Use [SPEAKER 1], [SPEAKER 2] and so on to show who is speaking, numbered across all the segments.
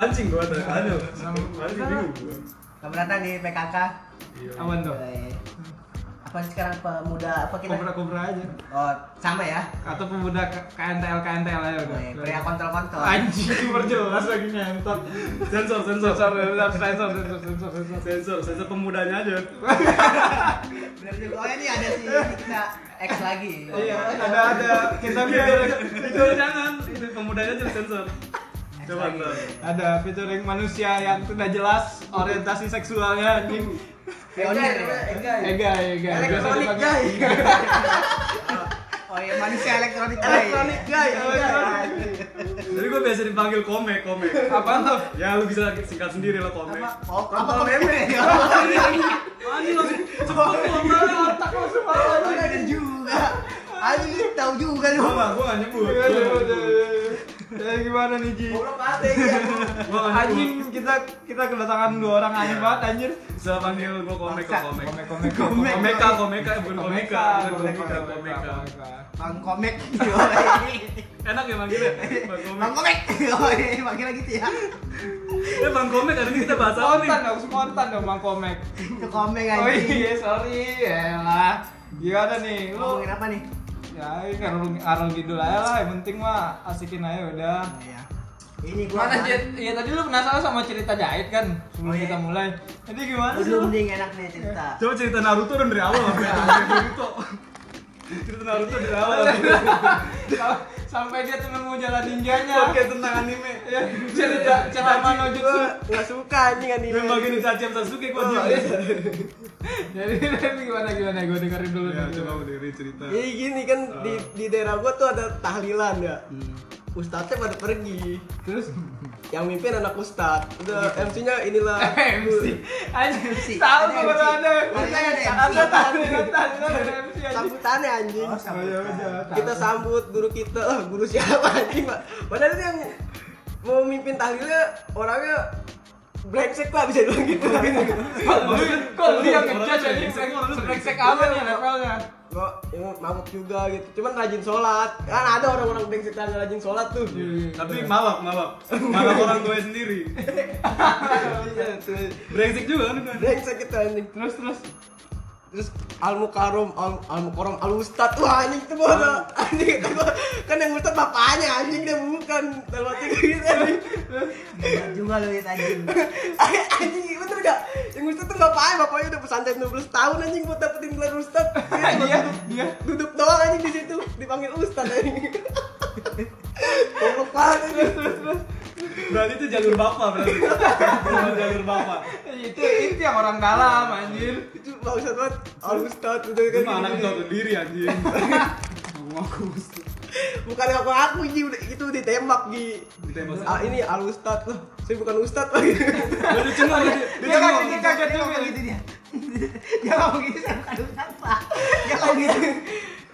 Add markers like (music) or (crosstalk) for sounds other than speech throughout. [SPEAKER 1] anjing gua tuh
[SPEAKER 2] Iya,
[SPEAKER 1] aduh anjing bingung gua.
[SPEAKER 3] Pemerintah di PKK.
[SPEAKER 1] Iya.
[SPEAKER 2] Awan tuh.
[SPEAKER 3] Eh, Apa sih sekarang pemuda apa kita?
[SPEAKER 2] Kobra kobra aja.
[SPEAKER 3] Oh, sama ya.
[SPEAKER 2] Atau pemuda K- KNTL KNTL aja udah.
[SPEAKER 3] Eh, Pria kontrol-kontrol.
[SPEAKER 2] ya, Anjing perjelas lagi ngentot.
[SPEAKER 1] sensor sensor
[SPEAKER 2] Sensor sensor sensor sensor sensor sensor.
[SPEAKER 1] sensor sensor pemudanya aja
[SPEAKER 3] Bener juga. Oh, ini ada si kita X lagi.
[SPEAKER 2] Iya, ada ada kita
[SPEAKER 1] Iya,
[SPEAKER 2] iya.
[SPEAKER 1] itu jangan itu pemudanya aja sensor coba ntar
[SPEAKER 2] ada featuring manusia yang tidak jelas orientasi seksualnya anjing.
[SPEAKER 3] Pionir. ya?
[SPEAKER 2] Ega ega.
[SPEAKER 3] Elektronik guy. Oh iya, manusia elektronik guy. Iya,
[SPEAKER 2] Elektronik guy.
[SPEAKER 1] jadi gua biasa dipanggil komek komek
[SPEAKER 2] Apa tuh?
[SPEAKER 1] ya lu bisa singkat sendiri lah komek
[SPEAKER 3] Apa? Oh, apa meme?
[SPEAKER 2] Anjing langsung cepet lomba otak langsung malah
[SPEAKER 3] Oh, ada juga. Anjing lu tahu juga lu.
[SPEAKER 1] gua nggak Ah, gua nggak nyebut
[SPEAKER 2] Iya, iya, iya, iya, iya. Ya, gimana nih Ji?
[SPEAKER 3] Goblok banget ya.
[SPEAKER 1] gua nggak nyebut
[SPEAKER 2] Anjing kita kita kedatangan dua orang anjing banget anjir.
[SPEAKER 1] bisa panggil gua komek kok komek
[SPEAKER 2] Komek komek
[SPEAKER 3] Komek.
[SPEAKER 1] komeka komeka bukan komeka bukan komeka komeka
[SPEAKER 3] Bang Komek.
[SPEAKER 1] enak ya manggilnya
[SPEAKER 2] Iya.
[SPEAKER 1] bang komek
[SPEAKER 3] Bang Komek. (laughs) Oh iya, panggilnya gitu ya.
[SPEAKER 1] eh bang komek hari ini kita bahas apa nih
[SPEAKER 2] Spontan dong, spontan dong Bang Komek.
[SPEAKER 3] Itu Komek
[SPEAKER 2] Oh
[SPEAKER 3] anjing.
[SPEAKER 2] iya, sorry. Elah. Gimana nih? Lu
[SPEAKER 3] Ngomongin apa nih?
[SPEAKER 2] ya ini ngarung ngarung gitu aja lah. Yang penting mah asikin aja udah.
[SPEAKER 3] Oh, iya. Ini gua
[SPEAKER 2] Gimana Jet? Iya tadi lu penasaran sama cerita jahit kan sebelum
[SPEAKER 3] Oh, iya.
[SPEAKER 2] kita mulai. Jadi gimana sih?
[SPEAKER 3] Belum
[SPEAKER 2] lu?
[SPEAKER 3] ding enak nih cerita.
[SPEAKER 1] coba cerita Naruto dong dari awal sampai sampai Naruto cerita Naruto dari awal
[SPEAKER 2] Sampai dia temen mau jalan ninjanya.
[SPEAKER 1] podcast tentang anime
[SPEAKER 2] Ya, cerita ceramah no jutsu.
[SPEAKER 4] Oh,
[SPEAKER 3] Enggak suka anjing anjing.
[SPEAKER 1] membagiin Itachi sama Sasuke gua diem
[SPEAKER 4] iya.
[SPEAKER 2] Jadi ini gimana gimana gue dengerin dulu.
[SPEAKER 1] ya
[SPEAKER 2] nih. (laughs)
[SPEAKER 1] coba aku dengerin cerita
[SPEAKER 4] Jadi gini kan di, di daerah gua tuh ada tahlilan ya. Ustadznya pada pergi.
[SPEAKER 2] Terus
[SPEAKER 4] Yang mimpin anak ustadz. Udah MC-nya inilah.
[SPEAKER 2] MC. Anjing,
[SPEAKER 3] MC.
[SPEAKER 2] tahu
[SPEAKER 3] Ada
[SPEAKER 2] kok baru
[SPEAKER 3] MC.
[SPEAKER 2] ada.
[SPEAKER 3] Ada, ada MC.
[SPEAKER 2] Ada tadi tadi ada MC anjing.
[SPEAKER 4] Sambutannya anjing.
[SPEAKER 3] Oh, sama.
[SPEAKER 2] Ya udah.
[SPEAKER 4] kita sambut guru kita. Oh, guru siapa anjing, Pak? Padahal itu yang mau mimpin tahlilnya orangnya brengsek lah bisa bilang gitu.
[SPEAKER 2] Kok lu kok lu yang
[SPEAKER 1] Orang
[SPEAKER 2] ngejudge
[SPEAKER 1] brengsek,
[SPEAKER 2] jadi
[SPEAKER 1] orang lu
[SPEAKER 2] brengsek apa nih levelnya?
[SPEAKER 4] Gua ya, mabuk juga gitu. Cuman rajin sholat. Kan ada orang-orang brengsek yang rajin sholat tuh.
[SPEAKER 2] Iya,
[SPEAKER 1] tapi malak malak malak orang gue sendiri
[SPEAKER 4] Iya, tuh.
[SPEAKER 1] brengsek juga kan gua.
[SPEAKER 4] Brengsek kita anjing.
[SPEAKER 2] terus terus
[SPEAKER 4] terus al mukarom al, al mukarom al ustad wah anjing itu (laughs) bola anjing itu bola. kan yang ustad bapaknya anjing dia bukan dalam hati gue gitu anjing (laughs)
[SPEAKER 3] Enak juga lu ya lihat
[SPEAKER 2] (laughs)
[SPEAKER 3] anjing.
[SPEAKER 4] anjing bener gak yang ustad tuh bapaknya bapaknya udah pesantren 12 tahun anjing buat dapetin gelar ustad dia cuma
[SPEAKER 2] Dia-
[SPEAKER 4] duduk,
[SPEAKER 2] dia.
[SPEAKER 4] duduk doang anjing di situ dipanggil ustad anjing (laughs) Goblok banget anjing.
[SPEAKER 1] berarti itu jalur bapak berarti Itu jalur bapak
[SPEAKER 2] itu itu yang orang dalam anjir.
[SPEAKER 4] Itu bangsat banget. Al ustad udah
[SPEAKER 1] itu mah anak
[SPEAKER 4] gitu.
[SPEAKER 1] tahu sendiri anjing
[SPEAKER 2] Ngaku
[SPEAKER 4] Bukan aku aku Ji. Udah- itu ditembak di
[SPEAKER 1] ditembak
[SPEAKER 4] Ah, ini al ustad lah. Saya bukan ustad (laughs) lagi.
[SPEAKER 1] Gua lucu nggak?
[SPEAKER 2] Dia kaget dia kaget
[SPEAKER 3] Dia ngomong gitu
[SPEAKER 2] juga.
[SPEAKER 3] dia. (laughs) Dia ngomong gitu saya bukan ustaz, Pak. Dia ngomong gitu.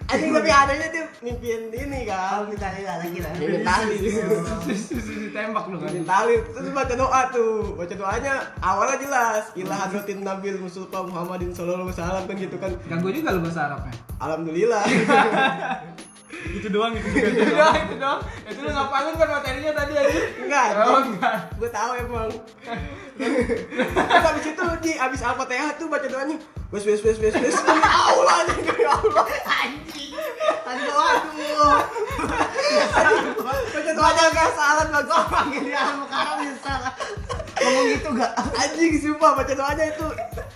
[SPEAKER 4] Anjing tapi adanya dia mimpin ini
[SPEAKER 3] Kalau
[SPEAKER 4] kan.
[SPEAKER 3] kita lihat lagi lah.
[SPEAKER 4] Mimpin tali.
[SPEAKER 2] Terus terus ditembak lu kan.
[SPEAKER 4] Mimpin tali terus baca doa tuh. Baca doanya awalnya jelas ilah hadratin nabil musulfa Muhammadin sallallahu alaihi wasallam kan gitu kan.
[SPEAKER 2] Ganggu juga lu bahasa Arabnya. (laughs)
[SPEAKER 4] Alhamdulillah.
[SPEAKER 1] itu doang itu juga
[SPEAKER 2] Itu doang, Iya, itu doang. Itu lu ngapalin kan materinya tadi anjir.
[SPEAKER 4] Enggak.
[SPEAKER 2] Oh, enggak.
[SPEAKER 4] Gue tahu emang. Terus habis itu di habis Al-Fatihah tuh baca doanya. Wes wes wes wes
[SPEAKER 2] (laughs)
[SPEAKER 4] wes. Ya Allah anjing, ya Allah.
[SPEAKER 3] Anjing. Tadi doa tuh.
[SPEAKER 4] Baca doanya enggak salah bagus.
[SPEAKER 3] Panggil dia sama Karam ya salah. Ngomong gitu gak?
[SPEAKER 4] Anjing sumpah baca doanya itu.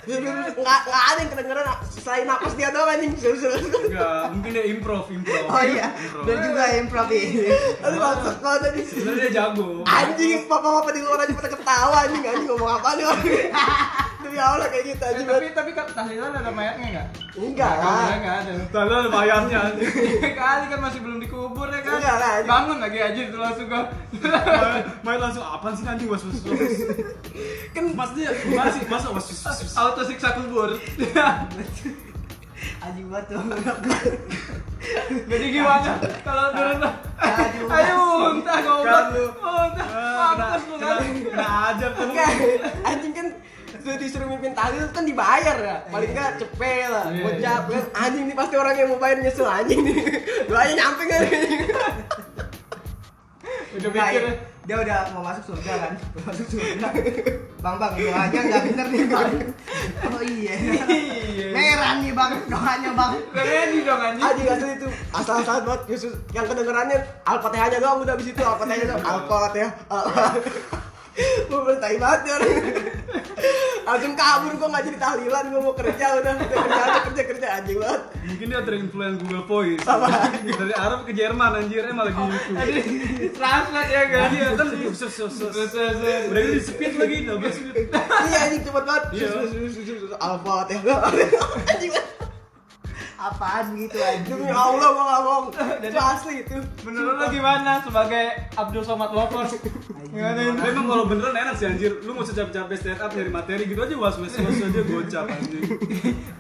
[SPEAKER 4] Nggak nggak ada yang kedengeran selain napas dia doang anjing.
[SPEAKER 1] enggak mungkin dia improv improv
[SPEAKER 3] Oh iya,
[SPEAKER 1] Improv.
[SPEAKER 3] dan juga improv ini.
[SPEAKER 4] Aduh bangsat banget anjing.
[SPEAKER 1] sebenarnya dia jago
[SPEAKER 4] Anjing, papa-papa di luar aja pada ketawa anjing, anjing ngomong apa nih orang. (laughs) Demi Allah kayak gitu
[SPEAKER 2] Eh,
[SPEAKER 4] anjing.
[SPEAKER 2] tapi tapi kan tahlilan ada mayatnya enggak?
[SPEAKER 4] Enggak lah.
[SPEAKER 2] Enggak, enggak ada.
[SPEAKER 1] Tanda bayarnya anjing.
[SPEAKER 2] Kali kan masih belum dikubur ya kan?
[SPEAKER 4] Enggak lah.
[SPEAKER 2] Bangun lagi aja itu langsung gua.
[SPEAKER 1] Main- Main langsung apaan sih anjing was was was. Kan maksudnya gimana sih masa was was was. was?
[SPEAKER 2] Auto siksa kubur.
[SPEAKER 3] Anjing banget
[SPEAKER 2] (laughs)
[SPEAKER 3] tuh.
[SPEAKER 2] Jadi gimana kalau turun?
[SPEAKER 3] Aduh.
[SPEAKER 2] Ayo muntah
[SPEAKER 1] Kan
[SPEAKER 2] ngomong.
[SPEAKER 1] lu.
[SPEAKER 2] Muntah.
[SPEAKER 1] Ah, kena-
[SPEAKER 2] Mampus lu kan.
[SPEAKER 1] kena- Kena aja kamu.
[SPEAKER 4] Enggak, anjing kan sudah disuruh mimpin tahlil kan dibayar ya. Paling enggak cepet lah,
[SPEAKER 2] Iya,
[SPEAKER 4] gocap kan. Anjing nih pasti orang yang mau bayar nyesel (laughs) anjing nih. Doanya nyampe enggak nih.
[SPEAKER 2] Udah mikir,
[SPEAKER 3] ya. dia udah mau masuk surga kan Mau masuk surga bang bang doanya nggak bener nih bang oh iya merah nih bang doanya bang
[SPEAKER 2] Ready dong anjing.
[SPEAKER 4] Anjing asli itu asal-asalan banget Yesus yang kedengerannya Al-Fatihahnya doang udah abis itu Al-Fatihahnya doang (laughs) Al-Fatihah Gue bertai banget ya orang. Langsung kabur gue gak jadi tahlilan Gue mau kerja udah Kerja kerja kerja anjing banget
[SPEAKER 1] Mungkin dia terinfluence Google Voice.
[SPEAKER 4] Apa?
[SPEAKER 1] Dari Arab ke Jerman anjir, eh malah di YouTube.
[SPEAKER 2] Aduh, translate ya kan.
[SPEAKER 1] Iya, terus di sus sus sus.
[SPEAKER 2] Terus, terus, terus.
[SPEAKER 1] Udah gitu di speed lagi, double speed.
[SPEAKER 4] Iya anjing cepet banget
[SPEAKER 1] Iya.
[SPEAKER 4] Al-Fatihah Anjing banget.
[SPEAKER 3] apaan gitu aja
[SPEAKER 4] Demi Allah gue gak bohong Itu asli itu
[SPEAKER 2] Menurut lo gimana sebagai Abdul Somad Wapor? Gimana
[SPEAKER 1] Tapi emang kalau beneran enak sih anjir. Lu mau capek-capek stand up nyari materi gitu aja was was was aja gocap anjing.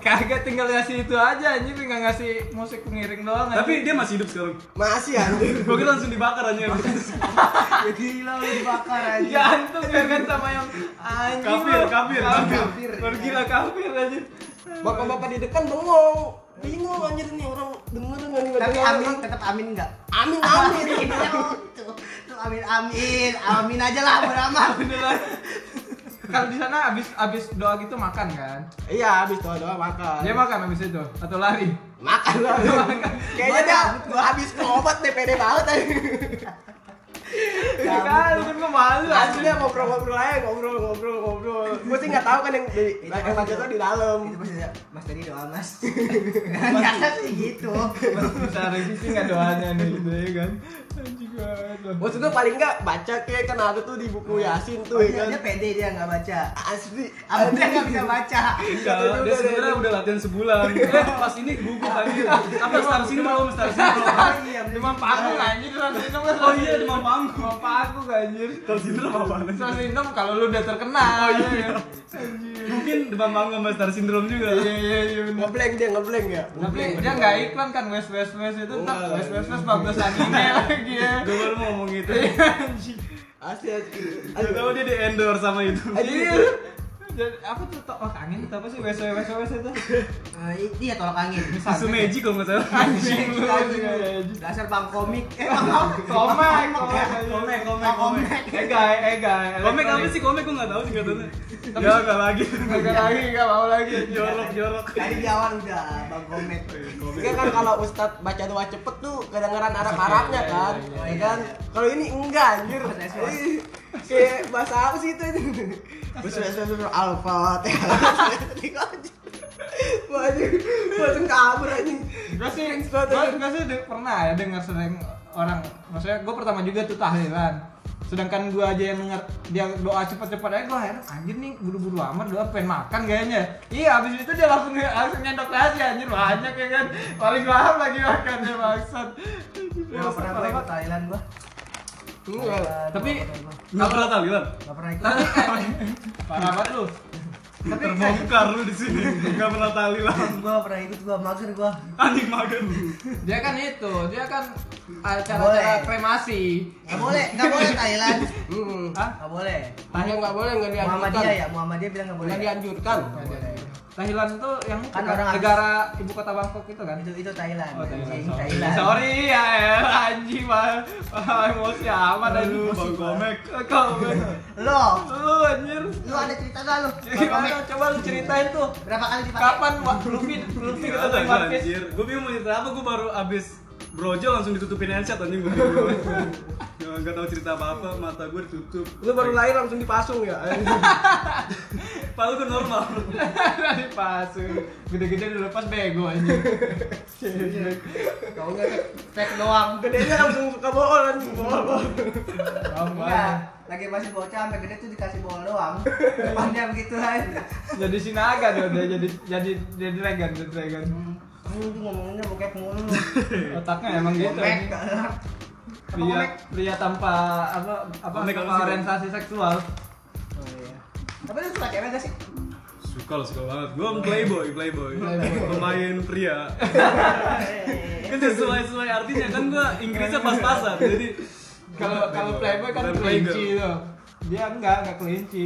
[SPEAKER 2] Kagak tinggal ngasih itu aja anjing, tinggal ngasih musik pengiring doang.
[SPEAKER 1] Tapi dia masih hidup sekarang.
[SPEAKER 4] Masih anjing
[SPEAKER 1] Gue kira langsung dibakar anjir.
[SPEAKER 3] ya gila lu dibakar aja
[SPEAKER 2] gantung ya kan sama yang
[SPEAKER 3] Iya.
[SPEAKER 2] anjing.
[SPEAKER 1] Kafir,
[SPEAKER 2] lo.
[SPEAKER 1] kafir,
[SPEAKER 3] kafir.
[SPEAKER 2] Baru gila kafir anjing.
[SPEAKER 4] Bapak-bapak di depan bengong Bingung anjir nih orang denger dengan
[SPEAKER 3] tapi amin tetap amin nggak
[SPEAKER 4] Amin amin
[SPEAKER 3] Tuh, tuh, amin amin amin aja lah beramal
[SPEAKER 2] Beneran. Kalau di sana abis abis doa gitu makan kan?
[SPEAKER 4] Iya habis doa doa makan
[SPEAKER 2] Dia makan abis itu atau lari?
[SPEAKER 4] Makan lah Kayaknya dia gua habis obat deh pede banget anjing.
[SPEAKER 2] Kan kan gue malu anjing.
[SPEAKER 4] Aslinya ngobrol-ngobrol aja ngobrol-ngobrol-ngobrol Gue sih gak tau kan yang dari yang baca tuh di dalam
[SPEAKER 3] itu mas mas tadi doa mas biasa sih gitu
[SPEAKER 2] Bisa revisi nggak doanya nih gitu ya kan? Anjing banget lo.
[SPEAKER 4] Maksud gua paling gak baca kayak kan ada tuh di buku Yasin tuh
[SPEAKER 3] dia,
[SPEAKER 4] ya
[SPEAKER 3] dia
[SPEAKER 4] kan
[SPEAKER 3] pede dia nggak baca
[SPEAKER 4] Asli
[SPEAKER 3] Abang dia nggak bisa baca
[SPEAKER 1] Kalau Iya, dia sebenarnya udah latihan (laughs) sebulan. Eh, pas ini gugup anjir. Apa star syndrome, star syndrome.
[SPEAKER 3] iya
[SPEAKER 2] Demam panggung anjing, demam sindrom kan?
[SPEAKER 1] Oh iya, demam panggung.
[SPEAKER 2] Demam panggung anjir.
[SPEAKER 1] Star syndrome apa
[SPEAKER 2] Star sindrom kalau lu udah terkenal. Oh iya.
[SPEAKER 1] Mungkin demam panggung sama star syndrome juga.
[SPEAKER 2] Iya iya iya bener.
[SPEAKER 4] Ngeblank dia ngeblank ya
[SPEAKER 2] Tapi dia nggak iklan kan West West West itu tetap
[SPEAKER 4] Enggak,
[SPEAKER 2] West West West bagus anime lagi ya.
[SPEAKER 1] Gue baru mau ngomong itu.
[SPEAKER 2] Anjing.
[SPEAKER 4] Asli asli
[SPEAKER 1] Gue tau dia di endorse sama itu.
[SPEAKER 2] Iya. Jadi apa tuh tolak angin atau apa sih West West West West itu?
[SPEAKER 3] dia Eh, ya tolak angin
[SPEAKER 1] Susu Meiji kalau nggak salah.
[SPEAKER 2] Anjing lu anjing.
[SPEAKER 3] dasar bang komik eh bang komik
[SPEAKER 2] Komek, komek,
[SPEAKER 1] Komek, komek,
[SPEAKER 3] Bang
[SPEAKER 1] komek.
[SPEAKER 3] komik
[SPEAKER 2] Eh guys, eh guys.
[SPEAKER 1] Komek apa sih? Komek gue nggak tahu sih katanya. Ya nggak lagi.
[SPEAKER 2] Enggak lagi, enggak mau lagi.
[SPEAKER 1] Jorok, jorok.
[SPEAKER 3] tadi di awal udah bang komik
[SPEAKER 4] Kan kan kalau Ustadz baca doa cepet tuh kedengeran Arab-Arabnya kan.
[SPEAKER 2] Iya,
[SPEAKER 4] Ya kan? Kalau ini enggak anjir.
[SPEAKER 3] Mas, mas, mas.
[SPEAKER 4] Ih, Kayak bahasa apa sih itu? Terus alfa Wah anjing, gua langsung kabur anjing.
[SPEAKER 2] Gue sih,
[SPEAKER 4] Thanks
[SPEAKER 2] gue
[SPEAKER 4] banget, anjing.
[SPEAKER 2] sih de- pernah ya dengar sering orang, maksudnya gue pertama juga tuh tahlilan. Sedangkan gue aja yang denger dia doa cepet-cepet aja gue heran anjir nih buru-buru amat doa pengen makan kayaknya. Iya abis itu dia langsung langsung nyendok nasi anjir banyak ya kan. Paling lahap lagi makan ya maksud.
[SPEAKER 3] Gak pernah gue ikut Thailand gua
[SPEAKER 4] Enggak.
[SPEAKER 2] Tapi
[SPEAKER 1] Nggak pernah tahlilan.
[SPEAKER 3] Gak pernah ikut
[SPEAKER 2] tapi parah banget lu.
[SPEAKER 1] Terbongkar lu di sini. Nggak pernah tahlilan.
[SPEAKER 3] Gua nggak pernah ikut gua mager gua
[SPEAKER 1] Anjing mager.
[SPEAKER 2] Dia kan itu, dia kan acara-acara
[SPEAKER 3] Boleh.
[SPEAKER 2] kremasi.
[SPEAKER 3] Gak boleh, gak boleh Thailand
[SPEAKER 4] Heeh.
[SPEAKER 3] Gak boleh
[SPEAKER 4] Tahnya enggak boleh enggak dianjurkan.
[SPEAKER 3] Muhammadiyah ya, Muhammadiyah bilang gak boleh
[SPEAKER 4] Enggak dianjurkan.
[SPEAKER 2] Thailand tuh yang
[SPEAKER 3] Kan orang-
[SPEAKER 2] negara ibu kota Bangkok itu kan?
[SPEAKER 3] Itu, itu Thailand
[SPEAKER 2] Oh, Thailand.
[SPEAKER 3] anjing,
[SPEAKER 2] Sorry.
[SPEAKER 3] Thailand
[SPEAKER 2] Sorry ya, El. anjing mah. Wah, emosi amat
[SPEAKER 1] Aduh,
[SPEAKER 2] aduh.
[SPEAKER 1] bang Komek.
[SPEAKER 2] Kau
[SPEAKER 3] Lo,
[SPEAKER 2] lu anjir.
[SPEAKER 3] lo ada cerita gak lo?
[SPEAKER 2] Gimana? Coba lu ceritain tuh.
[SPEAKER 3] Berapa kali dipakai?
[SPEAKER 2] Kapan Wak, Luffy Luffy
[SPEAKER 1] Nggak
[SPEAKER 2] ketemu
[SPEAKER 1] tahu
[SPEAKER 2] One Piece?
[SPEAKER 1] Iya, anjir. Gue bingung mau cerita apa. Gue baru abis brojo langsung ditutupin headset (laughs) anjing gue. Nah, Nggak tahu cerita apa-apa. Mata gue ditutup.
[SPEAKER 4] Lu baru lahir langsung dipasung ya.
[SPEAKER 1] Palu gue kan normal.
[SPEAKER 2] (laughs) Dari pasu. Gede-gede dulu pas bego anjir.
[SPEAKER 3] Kau gak fake doang
[SPEAKER 4] Gedenya langsung suka bohong anjing bohong.
[SPEAKER 3] Enggak,
[SPEAKER 2] Sama.
[SPEAKER 3] lagi masih bocah sampai gede tuh dikasih bola doang Depannya begitu aja
[SPEAKER 2] Jadi sinaga dia udah jadi jadi jadi dragon, jadi dragon.
[SPEAKER 3] Ini tuh ngomonginnya bokep mulu
[SPEAKER 2] Otaknya emang gitu.
[SPEAKER 3] Komek
[SPEAKER 2] anjing. Pria, pria tanpa apa apa
[SPEAKER 1] Komek apa
[SPEAKER 2] tanpa
[SPEAKER 1] sih?
[SPEAKER 2] orientasi seksual.
[SPEAKER 3] Oh iya Tapi lu suka cewek gak sih?
[SPEAKER 1] Suka lo suka banget. Gue playboy, playboy.
[SPEAKER 2] Playboy.
[SPEAKER 1] Pemain (laughs) pria. kan sesuai sesuai artinya kan gua Inggrisnya pas-pasan jadi
[SPEAKER 2] Kalau kalau playboy kan
[SPEAKER 1] Dan playgirl.
[SPEAKER 2] kelinci tuh. Dia enggak, enggak kelinci.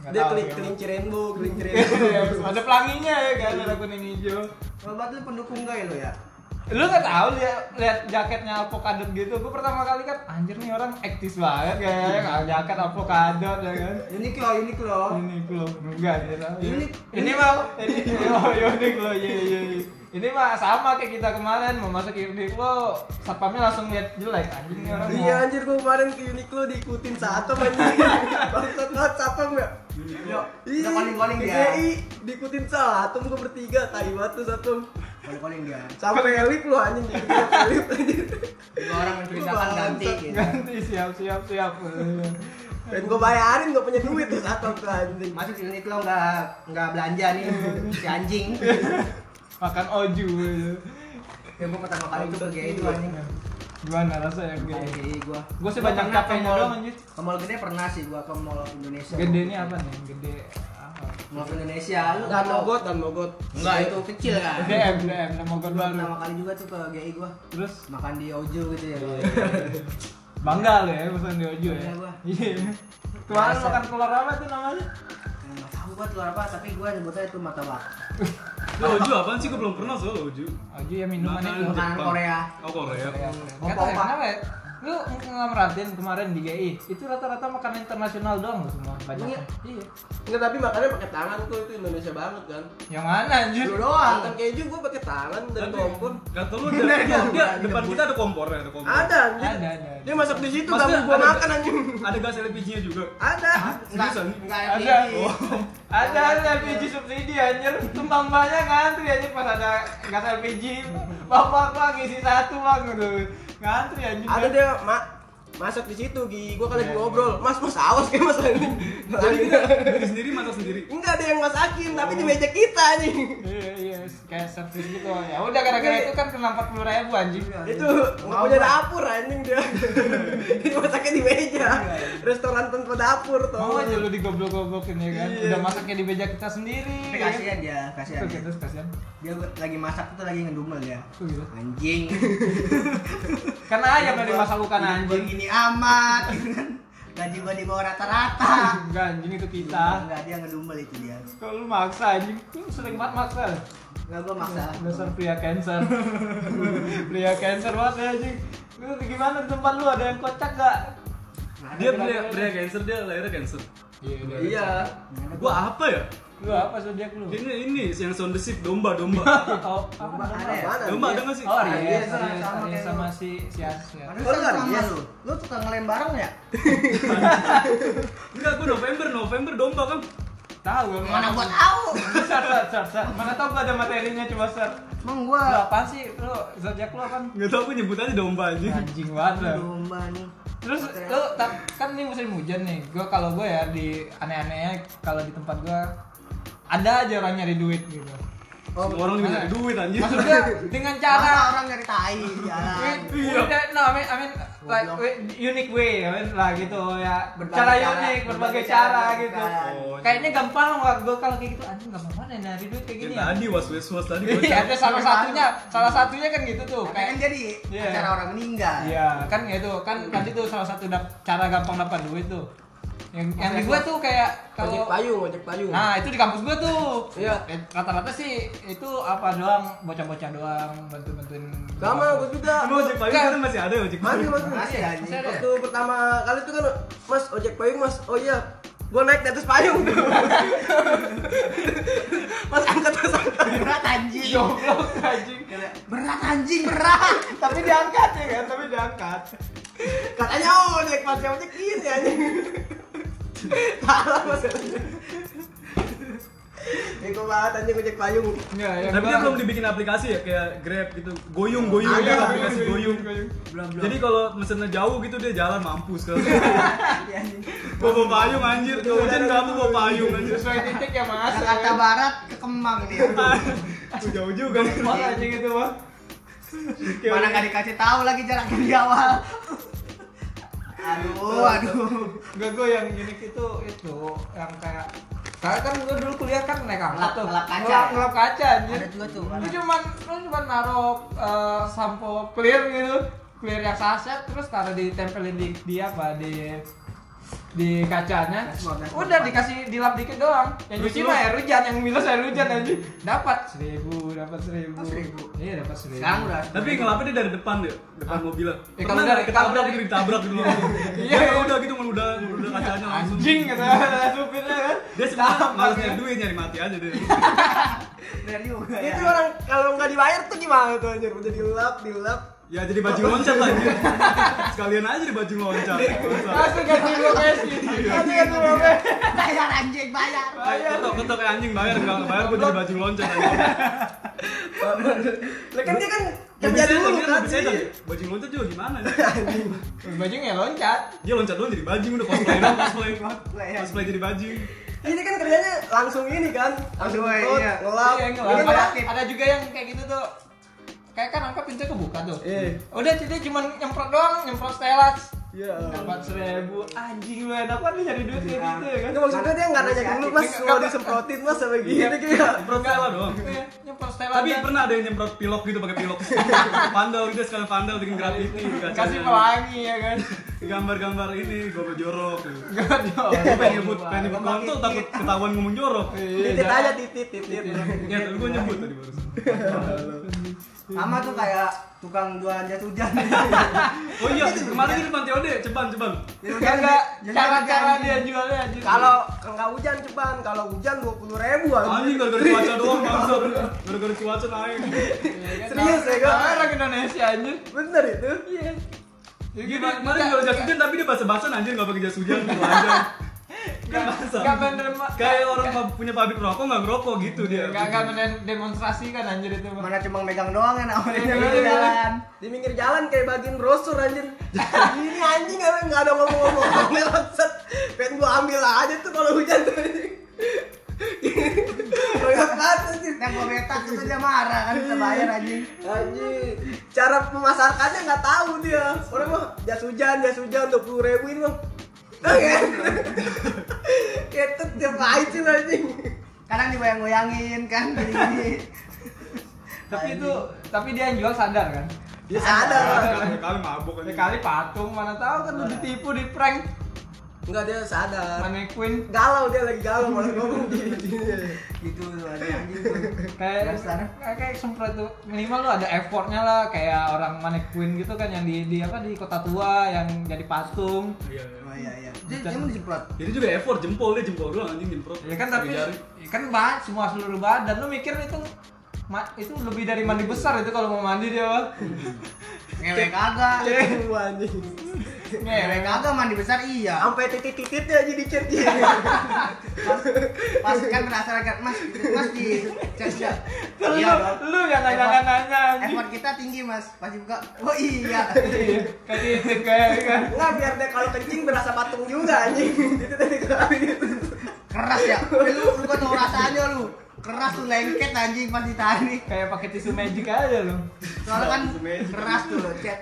[SPEAKER 2] Nggak
[SPEAKER 4] Dia
[SPEAKER 2] tahu
[SPEAKER 4] keli-
[SPEAKER 2] dia. (laughs)
[SPEAKER 4] kelinci rainbow, kelinci rainbow.
[SPEAKER 2] Iya, ada pelanginya ya kan, ada kuning hijau.
[SPEAKER 3] Lo banget lu pendukung gay lo ya?
[SPEAKER 2] lu nggak tahu lihat lihat jaketnya avocado gitu gue pertama kali kan anjir nih orang aktif banget kayaknya nggak jaket avocado ya kan
[SPEAKER 3] Uniqlo, Uniqlo.
[SPEAKER 2] ini lo enggak ya tau.
[SPEAKER 3] Ini-
[SPEAKER 2] ini mah (laughs) ini oh unik lo iya iya iya. ini mah sama kayak kita kemarin mau masuk unik lo satpamnya langsung lihat jelek anjing nih orang
[SPEAKER 4] Iya
[SPEAKER 2] mau
[SPEAKER 4] anjir gua kemarin ke Uniqlo diikutin satpam (laughs) anjir. Bangsat banget satpam ya.
[SPEAKER 1] Uniqlo.
[SPEAKER 3] Yuk, kita calling-calling dia.
[SPEAKER 4] DKI Iya. diikutin satpam gua bertiga, tai banget tuh satpam.
[SPEAKER 3] Calling-calling dia.
[SPEAKER 4] Sama Elif lu anjing diikutin Elif. anjing.
[SPEAKER 3] Dua orang menceritakan
[SPEAKER 4] Bangsat.
[SPEAKER 3] ganti gitu.
[SPEAKER 2] ganti siap siap siap
[SPEAKER 4] Dan gua bayarin gak punya duit tuh satpam tuh anjing.
[SPEAKER 3] Masuk si Uniqlo nggak nggak belanja nih si anjing.
[SPEAKER 2] makan oju gitu.
[SPEAKER 3] Ya gua pertama kali itu ke GI itu anjing.
[SPEAKER 2] gimana rasanya
[SPEAKER 3] Ke
[SPEAKER 2] gue
[SPEAKER 3] GI gua.
[SPEAKER 2] Gua sih banyak
[SPEAKER 3] pernah ke
[SPEAKER 2] capeknya
[SPEAKER 3] mall-
[SPEAKER 2] doang, anjir.
[SPEAKER 3] Ke mall gede pernah sih gua ke mall Indonesia.
[SPEAKER 2] gede ini apa nih gede apa
[SPEAKER 3] Mall Indonesia lu
[SPEAKER 4] Dan
[SPEAKER 3] tau.
[SPEAKER 4] mogot, dan mogot.
[SPEAKER 3] Enggak itu kecil kan.
[SPEAKER 2] DM DM nama gue baru
[SPEAKER 3] Pertama kali juga tuh ke GI gua.
[SPEAKER 2] terus
[SPEAKER 3] Makan di Ojo gitu
[SPEAKER 2] Iya,
[SPEAKER 3] ya.
[SPEAKER 2] bangga lo ya pesan di ojo ya
[SPEAKER 3] Bangga gua.
[SPEAKER 2] iya kemarin
[SPEAKER 3] Biasa.
[SPEAKER 2] makan telur apa tuh namanya
[SPEAKER 3] Enggak Nah, tahu gua telur apa tapi gua nyebutnya itu mata bak.
[SPEAKER 1] Lo Oju apaan sih? Gue belum pernah soal Oju.
[SPEAKER 2] ojo ya minuman
[SPEAKER 1] Makan
[SPEAKER 2] itu
[SPEAKER 1] Jepang.
[SPEAKER 3] Makanan Korea.
[SPEAKER 1] Oh Korea.
[SPEAKER 2] Gak tau ya, kenapa ya? Lu nggak merhatiin kemarin di GI Itu rata-rata makanan internasional doang lo semua banyak
[SPEAKER 4] Iya.
[SPEAKER 2] Iya
[SPEAKER 4] Enggak tapi makannya pakai tangan tuh itu Indonesia banget kan.
[SPEAKER 2] Yang mana anjir?
[SPEAKER 3] Lu
[SPEAKER 4] Makan
[SPEAKER 3] doang.
[SPEAKER 4] keju gua pakai tangan dan
[SPEAKER 1] Tapi
[SPEAKER 4] kompor.
[SPEAKER 1] kata lu ada,
[SPEAKER 3] Bener,
[SPEAKER 1] dia- dia
[SPEAKER 3] bener.
[SPEAKER 1] depan kita ada kompornya, ada kompor.
[SPEAKER 4] Ada anjing.
[SPEAKER 2] Ada, ada, ada.
[SPEAKER 4] Dia masak di situ
[SPEAKER 1] Maksudnya
[SPEAKER 4] tapi gua
[SPEAKER 1] ada-
[SPEAKER 4] makan anjing.
[SPEAKER 1] Ada gas LPG-nya juga.
[SPEAKER 4] Ada.
[SPEAKER 3] Enggak
[SPEAKER 1] Seriusan?
[SPEAKER 3] enggak
[SPEAKER 2] Ada Oh.
[SPEAKER 3] ada.
[SPEAKER 2] Ada ada LPG subsidi anjir Tumpang banyak ngantri anjir pas ada gas LPG Bapak bang isi satu bang Aduh Ngantri anjir
[SPEAKER 4] ada dia ma- masak di situ gi gua kan lagi
[SPEAKER 2] Iya,
[SPEAKER 4] ngobrol mas mas awas kayak mas ini
[SPEAKER 1] Jadi kita beli sendiri masak sendiri.
[SPEAKER 4] enggak ada yang masakin tapi di meja kita anjing
[SPEAKER 2] Iya iya kayak servis gitu ya udah gara-gara itu kan kena 40 ribu anjing
[SPEAKER 4] itu nggak punya dapur anjing dia
[SPEAKER 2] (laughs)
[SPEAKER 4] jadi masaknya di meja restoran tanpa dapur
[SPEAKER 2] mau
[SPEAKER 4] toh
[SPEAKER 2] aja lu digoblok-goblokin ya kan
[SPEAKER 4] Iya.
[SPEAKER 2] udah masaknya di meja kita sendiri
[SPEAKER 3] Tapi
[SPEAKER 2] ya kan?
[SPEAKER 3] kasihan dia, kasihan. dia.
[SPEAKER 2] terus kasihan
[SPEAKER 3] Dia lagi masak tuh lagi ngedumel ya.
[SPEAKER 2] Tuh, gitu.
[SPEAKER 3] Anjing.
[SPEAKER 2] karena ayam yang dimasak bukan
[SPEAKER 3] Hidup gua
[SPEAKER 2] anjing
[SPEAKER 3] Gini amat. gitu kan. Gaji gua di bawah rata-rata.
[SPEAKER 2] enggak anjing itu kita
[SPEAKER 3] Enggak dia ngedumel itu dia.
[SPEAKER 2] kalau lu maksa anjing lu sering banget maksa
[SPEAKER 3] Enggak gua maksa.
[SPEAKER 2] dasar pria cancer (laughs) pria cancer banget ya anjing lu gimana di tempat lu ada yang kocak gak
[SPEAKER 1] Dia pria, pria cancer, dia lahirnya cancer.
[SPEAKER 2] iya iya.
[SPEAKER 4] iya
[SPEAKER 1] Gua apa ya?
[SPEAKER 2] lu apa zodiak lu
[SPEAKER 1] Ini ini yang sound the sheep, domba domba.
[SPEAKER 2] (laughs) oh apa?
[SPEAKER 3] Aries.
[SPEAKER 4] Apaan,
[SPEAKER 1] domba ada
[SPEAKER 4] anjing?
[SPEAKER 1] nggak sih?
[SPEAKER 2] Oh,
[SPEAKER 3] Aries,
[SPEAKER 2] Aries,
[SPEAKER 3] Iya,
[SPEAKER 2] Aries, Aries
[SPEAKER 3] sama- sama kayak
[SPEAKER 2] sama
[SPEAKER 3] lu.
[SPEAKER 2] si si Aries ya.
[SPEAKER 3] Aduh,
[SPEAKER 4] Baru kan,
[SPEAKER 3] sama
[SPEAKER 4] yes.
[SPEAKER 3] lu. Lu tukang ngelem bareng ya?
[SPEAKER 1] Enggak, gua November, November domba kan.
[SPEAKER 2] Tahu gua
[SPEAKER 3] Mana gua tahu.
[SPEAKER 2] Sar, sar, sar, sar. Mana tau gua ada materinya cuma sar.
[SPEAKER 3] Emang
[SPEAKER 2] Lu
[SPEAKER 3] gua
[SPEAKER 2] apaan sih? Lu zodiak lu apaan?
[SPEAKER 1] Enggak tahu gua nyebut aja domba aja.
[SPEAKER 2] Anjing banget. lu.
[SPEAKER 3] domba nih.
[SPEAKER 2] Terus lu ta- kan ini musim hujan nih. Gua kalau gua ya di aneh-anehnya kalau di tempat gua ada aja orang nyari duit gitu.
[SPEAKER 1] Semua orang juga nyari duit anjir.
[SPEAKER 2] Maksud
[SPEAKER 1] (laughs)
[SPEAKER 2] gua dengan
[SPEAKER 3] Masa
[SPEAKER 2] cara
[SPEAKER 3] orang nyari tai di jalan.
[SPEAKER 2] Wait, udah, no, I mean, I mean, like, wait, unique way, I mean, lah gitu ya.
[SPEAKER 3] Berbagai
[SPEAKER 2] cara
[SPEAKER 3] cara,
[SPEAKER 2] unik,
[SPEAKER 3] berbagai
[SPEAKER 2] berbagai
[SPEAKER 3] cara,
[SPEAKER 2] cara, gitu.
[SPEAKER 3] kan.
[SPEAKER 1] Oh,
[SPEAKER 2] Kayaknya gampang nggak gue kalau kayak gitu, anjing gampang banget ya nyari duit kayak
[SPEAKER 1] Kayak
[SPEAKER 2] gini.
[SPEAKER 1] tadi was was was tadi gua
[SPEAKER 2] Iya, ada salah satunya, salah satunya kan gitu tuh.
[SPEAKER 3] Tapi kan
[SPEAKER 2] Kayak,
[SPEAKER 3] jadi
[SPEAKER 2] Iya.
[SPEAKER 3] acara orang meninggal.
[SPEAKER 2] iya, kan ya itu, kan tadi tuh salah satu dap- cara gampang dapat duit tuh. Yang, yang di gue tuh kayak
[SPEAKER 4] ojek
[SPEAKER 2] kalau
[SPEAKER 4] payung ojek payung
[SPEAKER 2] Nah itu di kampus gue tuh.
[SPEAKER 4] Iya.
[SPEAKER 2] Eh, Rata-rata sih itu apa doang, bocah-bocah doang bantu-bantuin.
[SPEAKER 4] sama gua juga
[SPEAKER 1] Emang ojek payung
[SPEAKER 2] Enggak.
[SPEAKER 1] sekarang masih ada ya ojek
[SPEAKER 4] Masih,
[SPEAKER 1] payung.
[SPEAKER 4] masih.
[SPEAKER 2] Nah,
[SPEAKER 3] Masih
[SPEAKER 2] Masih
[SPEAKER 3] anjing.
[SPEAKER 2] ada.
[SPEAKER 4] waktu pertama kali itu kan mas ojek payung mas oh iya gua naik di atas payung (laughs) tuh mas angkat mas angkat
[SPEAKER 3] Berat anjing.
[SPEAKER 2] Goblok anjing.
[SPEAKER 3] Berat anjing, berat.
[SPEAKER 2] tapi diangkat ya kan tapi diangkat
[SPEAKER 4] katanya
[SPEAKER 3] "Oh,
[SPEAKER 4] ojek mas ya ojek gini anjing salah mas Bego banget anjing ojek payung
[SPEAKER 2] ya,
[SPEAKER 1] Tapi dia belum dibikin aplikasi ya kayak Grab gitu. Goyung goyung
[SPEAKER 4] Ada,
[SPEAKER 1] dia
[SPEAKER 4] ada,
[SPEAKER 1] aplikasi goyung.
[SPEAKER 3] Belum, belum.
[SPEAKER 1] Jadi kalau mesennya jauh gitu dia jalan mampus kalau. Bawa bawa payung anjir, kalau hujan kamu bawa payung anjir.
[SPEAKER 2] sesuai titik ya mas
[SPEAKER 3] Jakarta Barat ke Kemang nih.
[SPEAKER 1] Aduh, Jauh juga.
[SPEAKER 2] Wah, anjing itu mah
[SPEAKER 3] Mana gak dikasih tahu lagi jaraknya di awal. Aduh, aduh.
[SPEAKER 2] gak gue yang unik itu itu yang kayak saya kan gue dulu kuliah kan naik
[SPEAKER 3] Ngelap-
[SPEAKER 2] angkot tuh
[SPEAKER 3] ngelap kaca
[SPEAKER 2] ngelap,
[SPEAKER 3] ya?
[SPEAKER 2] ngelap kaca anjir
[SPEAKER 3] Ada juga tuh,
[SPEAKER 2] lu
[SPEAKER 3] ada.
[SPEAKER 2] cuman lu cuman naruh eh, sampo clear gitu clear yang saset terus taruh ditempelin di, di apa di di kacanya
[SPEAKER 3] Dashboard, dashboard.
[SPEAKER 2] udah dikasih dilap dikit doang yang
[SPEAKER 1] Terus
[SPEAKER 2] nyuci
[SPEAKER 1] lu?
[SPEAKER 2] mah air hujan yang minus air hujan aja dapat seribu dapat seribu
[SPEAKER 3] Oh, seribu.
[SPEAKER 2] iya dapat seribu
[SPEAKER 3] Sekarang udah.
[SPEAKER 1] Tapi ngelapnya dia dari depan ya, depan mobilnya.
[SPEAKER 2] Ya,
[SPEAKER 1] Pernah
[SPEAKER 2] kalau
[SPEAKER 1] nggak
[SPEAKER 2] dari-
[SPEAKER 1] ketabrak
[SPEAKER 2] kalau
[SPEAKER 1] gitu
[SPEAKER 2] dari-
[SPEAKER 1] ditabrak gitu.
[SPEAKER 2] (laughs) Iya.
[SPEAKER 1] Iya, udah gitu meludah meludah kacanya langsung.
[SPEAKER 2] anjing kata (laughs) supirnya kan
[SPEAKER 1] Dia sebenarnya
[SPEAKER 2] Tambah,
[SPEAKER 1] malas
[SPEAKER 2] kan?
[SPEAKER 1] nyari duit nyari mati aja deh.
[SPEAKER 3] Bener juga ya.
[SPEAKER 4] Itu orang kalau nggak dibayar tuh gimana tuh anjir? Udah dilap, dilap.
[SPEAKER 1] Ya jadi baju loncat lagi. Sekalian aja di baju loncat. Masa?
[SPEAKER 2] langsung ganti BPS
[SPEAKER 1] Iya.
[SPEAKER 2] langsung ganti BPS
[SPEAKER 3] Bayar anjing, bayar.
[SPEAKER 2] bayar
[SPEAKER 1] Ketok ketok kayak anjing bayar nggak bayar gue jadi baju loncat aja.
[SPEAKER 4] Lah kan dia kan
[SPEAKER 2] Ya,
[SPEAKER 1] Mobil sedan,
[SPEAKER 4] kerja dulu
[SPEAKER 1] dia
[SPEAKER 4] kan
[SPEAKER 1] mobil
[SPEAKER 4] sih.
[SPEAKER 1] sedan. Baju loncat juga gimana? ya?
[SPEAKER 2] bajunya ya loncat
[SPEAKER 1] Dia loncat doang jadi baju udah cosplay dong cosplay
[SPEAKER 2] Iya.
[SPEAKER 3] Cosplay, ya.
[SPEAKER 1] cosplay jadi baju.
[SPEAKER 4] Ini kan kerjanya langsung ini kan, langsung
[SPEAKER 3] Aduh,
[SPEAKER 4] ikut,
[SPEAKER 3] iya.
[SPEAKER 4] ngelap.
[SPEAKER 2] Oh, Iya, ngelap.
[SPEAKER 4] Ini
[SPEAKER 2] ada,
[SPEAKER 4] malah-
[SPEAKER 2] ada juga yang kayak gitu tuh kayak kan angka pintu kebuka tuh
[SPEAKER 4] Iya.
[SPEAKER 2] udah jadi cuma nyemprot doang nyemprot stelas
[SPEAKER 4] Iya.
[SPEAKER 2] empat seribu anjing lu enak banget nyari duit kayak gitu ya kan
[SPEAKER 4] Itu maksudnya dia nggak nanya dulu mas,
[SPEAKER 2] Nggak-
[SPEAKER 4] mau
[SPEAKER 2] nggak-
[SPEAKER 4] disemprotin mas sama gini gitu ya. kayak.
[SPEAKER 1] Semprot salah doang.
[SPEAKER 2] Iya, nyemprot stelas
[SPEAKER 1] Tapi
[SPEAKER 2] dan-
[SPEAKER 1] pernah ada yang nyemprot pilok gitu pakai
[SPEAKER 2] (laughs)
[SPEAKER 1] pilok. Vandal gitu sekalian vandal bikin graffiti di kacanya.
[SPEAKER 2] Iya, kasih pelangi ya kan
[SPEAKER 1] gambar-gambar ini gue jorok.
[SPEAKER 2] (laughs) gak jauh
[SPEAKER 1] Gue pengen nyebut pengen nyebut kontol takut ketahuan ngomong jorok.
[SPEAKER 2] Iya,
[SPEAKER 4] Titit aja titit titit.
[SPEAKER 1] Ya tapi gue nyebut tadi barusan.
[SPEAKER 3] Sama tuh kayak tukang jualan jas hujan.
[SPEAKER 1] Oh iya kemarin di depan TOD ceban ceban.
[SPEAKER 3] Jas hujan,
[SPEAKER 2] Enggak,
[SPEAKER 3] jas hujan
[SPEAKER 2] cara-cara
[SPEAKER 3] diganti.
[SPEAKER 2] dia jualnya anjing.
[SPEAKER 4] Kalau nggak hujan ceban, kalau hujan dua puluh ribu
[SPEAKER 2] Oh.
[SPEAKER 1] Anjing gara-gara cuaca doang bangsa. Gara-gara cuaca naik.
[SPEAKER 2] Iya,
[SPEAKER 4] serius ya, Kak?
[SPEAKER 2] Orang kan? Indonesia anjir.
[SPEAKER 4] Bener itu.
[SPEAKER 2] Iya. Ya,
[SPEAKER 1] Gini kemarin jual jas hujan tapi dia basah-basahan anjir nggak pakai jas hujan gitu, telanjang. Nggak basah.
[SPEAKER 2] Gak menerima
[SPEAKER 1] Kayak orang pa- punya pabrik rokok nggak ngerokok gitu dia.
[SPEAKER 2] Gak gak mendemonstrasikan anjir itu mah.
[SPEAKER 3] Mana cuma megang doang kan awalnya
[SPEAKER 2] Iya,
[SPEAKER 3] lu
[SPEAKER 2] iya.
[SPEAKER 3] jalan.
[SPEAKER 4] Di pinggir jalan kayak bagian brosur anjir. Ini anjing apa nggak ada ngomong-ngomong aneh bangsat. Pengen gua ambil aja tuh kalau hujan tuh anjing. Banyak banget anjir.
[SPEAKER 3] Nah gua betak itu dia marah kan kita bayar anjing.
[SPEAKER 4] Anjing, cara memasarkannya nggak tahu dia. Orang mah jas hujan, jas hujan dua puluh ribu ini mah. Ketet tiap pahit sih anjing.
[SPEAKER 3] Kadang dibayang-bayangin kan gini.
[SPEAKER 2] Tapi itu tapi dia yang jual sadar kan.
[SPEAKER 4] Dia sadar lah.
[SPEAKER 1] Kali mabok
[SPEAKER 2] Ya
[SPEAKER 1] aja.
[SPEAKER 2] kali patung mana tahu kan lu ditipu di prank
[SPEAKER 4] Enggak dia sadar.
[SPEAKER 2] mannequin
[SPEAKER 4] Galau dia lagi galau malah ngomong gini.
[SPEAKER 3] Gitu tuh ada anjing
[SPEAKER 4] (laughs)
[SPEAKER 3] tuh.
[SPEAKER 2] kayak
[SPEAKER 3] Dasar.
[SPEAKER 2] kayak kayak semprot tuh minimal lu ada effortnya lah kayak orang mannequin gitu kan yang di, di apa di kota tua yang jadi patung
[SPEAKER 1] Iya, iya.
[SPEAKER 3] Oh iya iya. Dia dia mau disemprot.
[SPEAKER 1] Jadi juga effort jempol dia jempol doang anjing nyemprot.
[SPEAKER 2] Ya kan tapi
[SPEAKER 1] Jari.
[SPEAKER 2] ya kan banget semua seluruh badan lu mikir itu ma- itu lebih dari mandi besar itu kalau mau mandi dia
[SPEAKER 3] (laughs)
[SPEAKER 2] Bang.
[SPEAKER 3] Ngewek kagak.
[SPEAKER 4] Cewek anjing.
[SPEAKER 3] Ngewek Eh,
[SPEAKER 2] kan?
[SPEAKER 3] kagak mandi besar iya.
[SPEAKER 4] Sampai titik-titiknya aja (laughs) dicet dia.
[SPEAKER 3] Pas, pas kan penasaran kan Mas, Mas di cek cek.
[SPEAKER 2] Terus
[SPEAKER 3] Iya,
[SPEAKER 2] lu-
[SPEAKER 3] Bang.
[SPEAKER 2] lu yang nanya nanya nanya anjing.
[SPEAKER 3] Effort kita tinggi Mas. Pas dibuka, oh iya.
[SPEAKER 2] Iya, kayak titik kayak kan
[SPEAKER 4] Enggak biar dia kalau kencing berasa patung juga anjing. Itu tadi kali gitu.
[SPEAKER 3] Keras ya. Eh, Lu lu kok tau rasanya lu. Keras tuh lengket anjing pas ditarik.
[SPEAKER 2] kayak pakai tisu magic aja lu
[SPEAKER 3] Soalnya kan
[SPEAKER 1] Langsung aja.
[SPEAKER 3] keras tuh lo chat.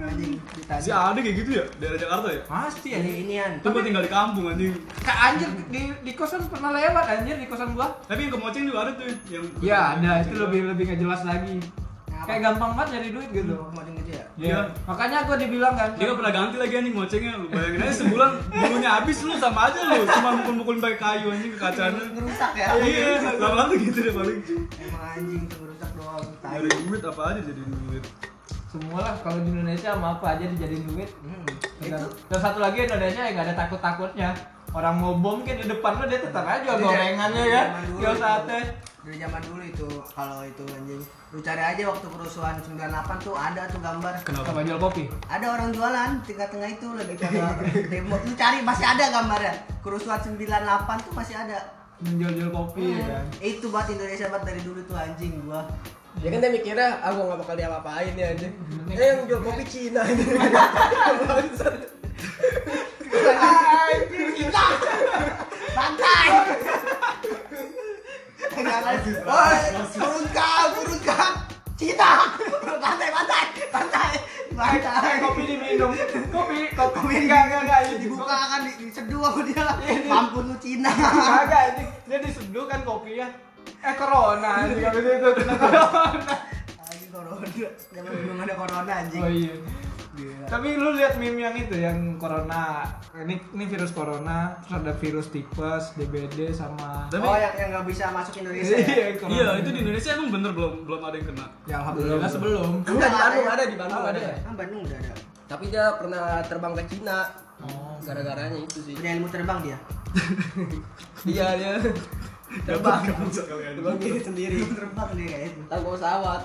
[SPEAKER 3] Anjing
[SPEAKER 1] Si
[SPEAKER 3] ditanya.
[SPEAKER 1] ada kayak gitu ya daerah Jakarta ya.
[SPEAKER 2] pasti ya
[SPEAKER 3] Ini inian.
[SPEAKER 1] Itu gua tinggal di kampung anjing.
[SPEAKER 2] kak anjir di di kosan pernah lewat anjir di kosan gua
[SPEAKER 1] Tapi yang kemoceng juga ada tuh yang
[SPEAKER 2] ya ada itu lebih lebih nggak jelas lagi
[SPEAKER 3] Kenapa?
[SPEAKER 2] kayak gampang banget nyari duit gitu
[SPEAKER 3] Lu macam gitu ya.
[SPEAKER 1] Iya.
[SPEAKER 2] Iya. Makanya gua dibilang kan.
[SPEAKER 1] Dia gak pernah ganti lagi anjing ngocengnya lu bayangin aja sebulan bulunya habis lu sama aja lu cuma mukul-mukulin pakai kayu anjing ke kacanya.
[SPEAKER 3] Ngerusak ya.
[SPEAKER 1] Iya, lama-lama gitu deh paling.
[SPEAKER 3] Emang anjing tuh ngerusak doang. Tai.
[SPEAKER 1] Nyari duit apa aja jadi duit.
[SPEAKER 2] Semua lah kalau di Indonesia sama apa aja dijadiin duit.
[SPEAKER 3] Hmm.
[SPEAKER 2] Dan,
[SPEAKER 3] Itu
[SPEAKER 2] dan satu lagi Indonesia yang gak ada takut-takutnya Orang mau bom kan di depan lo dia tetap aja
[SPEAKER 3] Iya.
[SPEAKER 2] gorengannya kan
[SPEAKER 3] Zaman dulu
[SPEAKER 2] Yo
[SPEAKER 3] itu.
[SPEAKER 2] sate
[SPEAKER 3] dari zaman dulu itu kalau itu anjing. Lu cari aja waktu kerusuhan 98 tuh ada tuh gambar.
[SPEAKER 1] Kenapa?
[SPEAKER 2] Sama jual kopi
[SPEAKER 3] Ada orang jualan tengah-tengah itu lagi pada (laughs) demo. Lu cari masih ada gambarnya. Kerusuhan 98 tuh masih ada.
[SPEAKER 2] Menjual-jual kopi ya kan
[SPEAKER 3] Eh, Itu buat Indonesia buat dari dulu tuh anjing gua.
[SPEAKER 4] Ya kan dia mikirnya, ah gua gak bakal diapa-apain ya anjing.
[SPEAKER 2] Bener.
[SPEAKER 4] Eh yang jual kopi Cina anjing. Bangsat.
[SPEAKER 3] Bantai. Woi, turun kau, turun kau. Cina. Bantai, bantai, bantai, bantai.
[SPEAKER 2] Kopi (laughs) diminum Kopi, kopi
[SPEAKER 3] Kopi
[SPEAKER 2] enggak, enggak, enggak ini
[SPEAKER 3] dibuka kan di- diseduh sama dia. Mampus lu Cina.
[SPEAKER 2] Enggak, ini dia diseduh kan kopinya Eh corona anjing habis itu kena corona
[SPEAKER 3] Lagi corona. Zaman belum ada corona anjing.
[SPEAKER 2] Oh iya
[SPEAKER 3] Gila.
[SPEAKER 2] Tapi lu lihat meme yang itu yang corona. Ini ini virus corona, terus ada virus tipes, DBD sama
[SPEAKER 1] Tapi-
[SPEAKER 3] oh yang yang nggak bisa masuk Indonesia ya?
[SPEAKER 2] Iya, corona.
[SPEAKER 1] Iya, itu di Indonesia emang bener belum belum ada yang kena.
[SPEAKER 2] Ya alhamdulillah
[SPEAKER 4] Belum.
[SPEAKER 2] sebelum.
[SPEAKER 4] (laughs) Enggak, di Bandung ada, di Bandung
[SPEAKER 3] Oh,
[SPEAKER 4] ada.
[SPEAKER 3] ya? Ah, Bandung udah ada.
[SPEAKER 4] Tapi dia pernah terbang ke Cina.
[SPEAKER 2] Oh.
[SPEAKER 4] Gara-garanya itu sih.
[SPEAKER 3] Udah ilmu terbang dia.
[SPEAKER 4] Iya, dia terbang.
[SPEAKER 1] Gabut kalian.
[SPEAKER 4] Terbang diri sendiri.
[SPEAKER 3] Ilmu terbang dia kayaknya. tuh.
[SPEAKER 4] Tahu pesawat.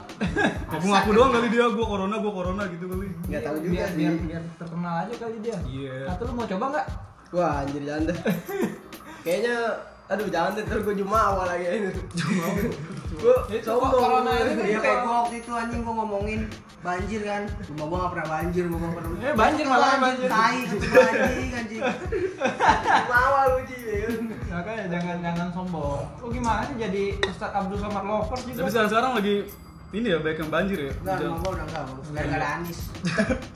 [SPEAKER 1] Aku ngaku doang kali dia, gua corona, gua corona gitu kali.
[SPEAKER 4] Enggak tahu juga
[SPEAKER 2] biar,
[SPEAKER 4] sih.
[SPEAKER 2] biar, biar terkenal aja kali dia.
[SPEAKER 1] Iya.
[SPEAKER 2] Atau lu mau coba nggak?
[SPEAKER 4] Wah, anjir janda. Kayaknya aduh jangan deh, ntar gue jumawa lagi ini. Jumawa. Gue
[SPEAKER 2] Itu
[SPEAKER 4] sombong.
[SPEAKER 2] corona ini kan
[SPEAKER 3] Iya kayak gua waktu itu anjing gua ngomongin banjir kan. Rumah gua nggak pernah banjir, rumah gua pernah.
[SPEAKER 2] Eh, banjir malah banjir.
[SPEAKER 3] Tai kan cuma anjing anjing.
[SPEAKER 4] Jumawa lu Ji, ya kan?
[SPEAKER 2] Makanya jangan jangan sombong. Lu gimana sih jadi Ustaz Abdul Somad lovers
[SPEAKER 1] Tapi
[SPEAKER 2] juga?
[SPEAKER 1] sekarang sekarang lagi ini ya banyak yang banjir ya.
[SPEAKER 2] Nah,
[SPEAKER 3] Enggak,
[SPEAKER 1] Hujan.
[SPEAKER 3] rumah gua udah enggak bagus. Gara-gara Anis.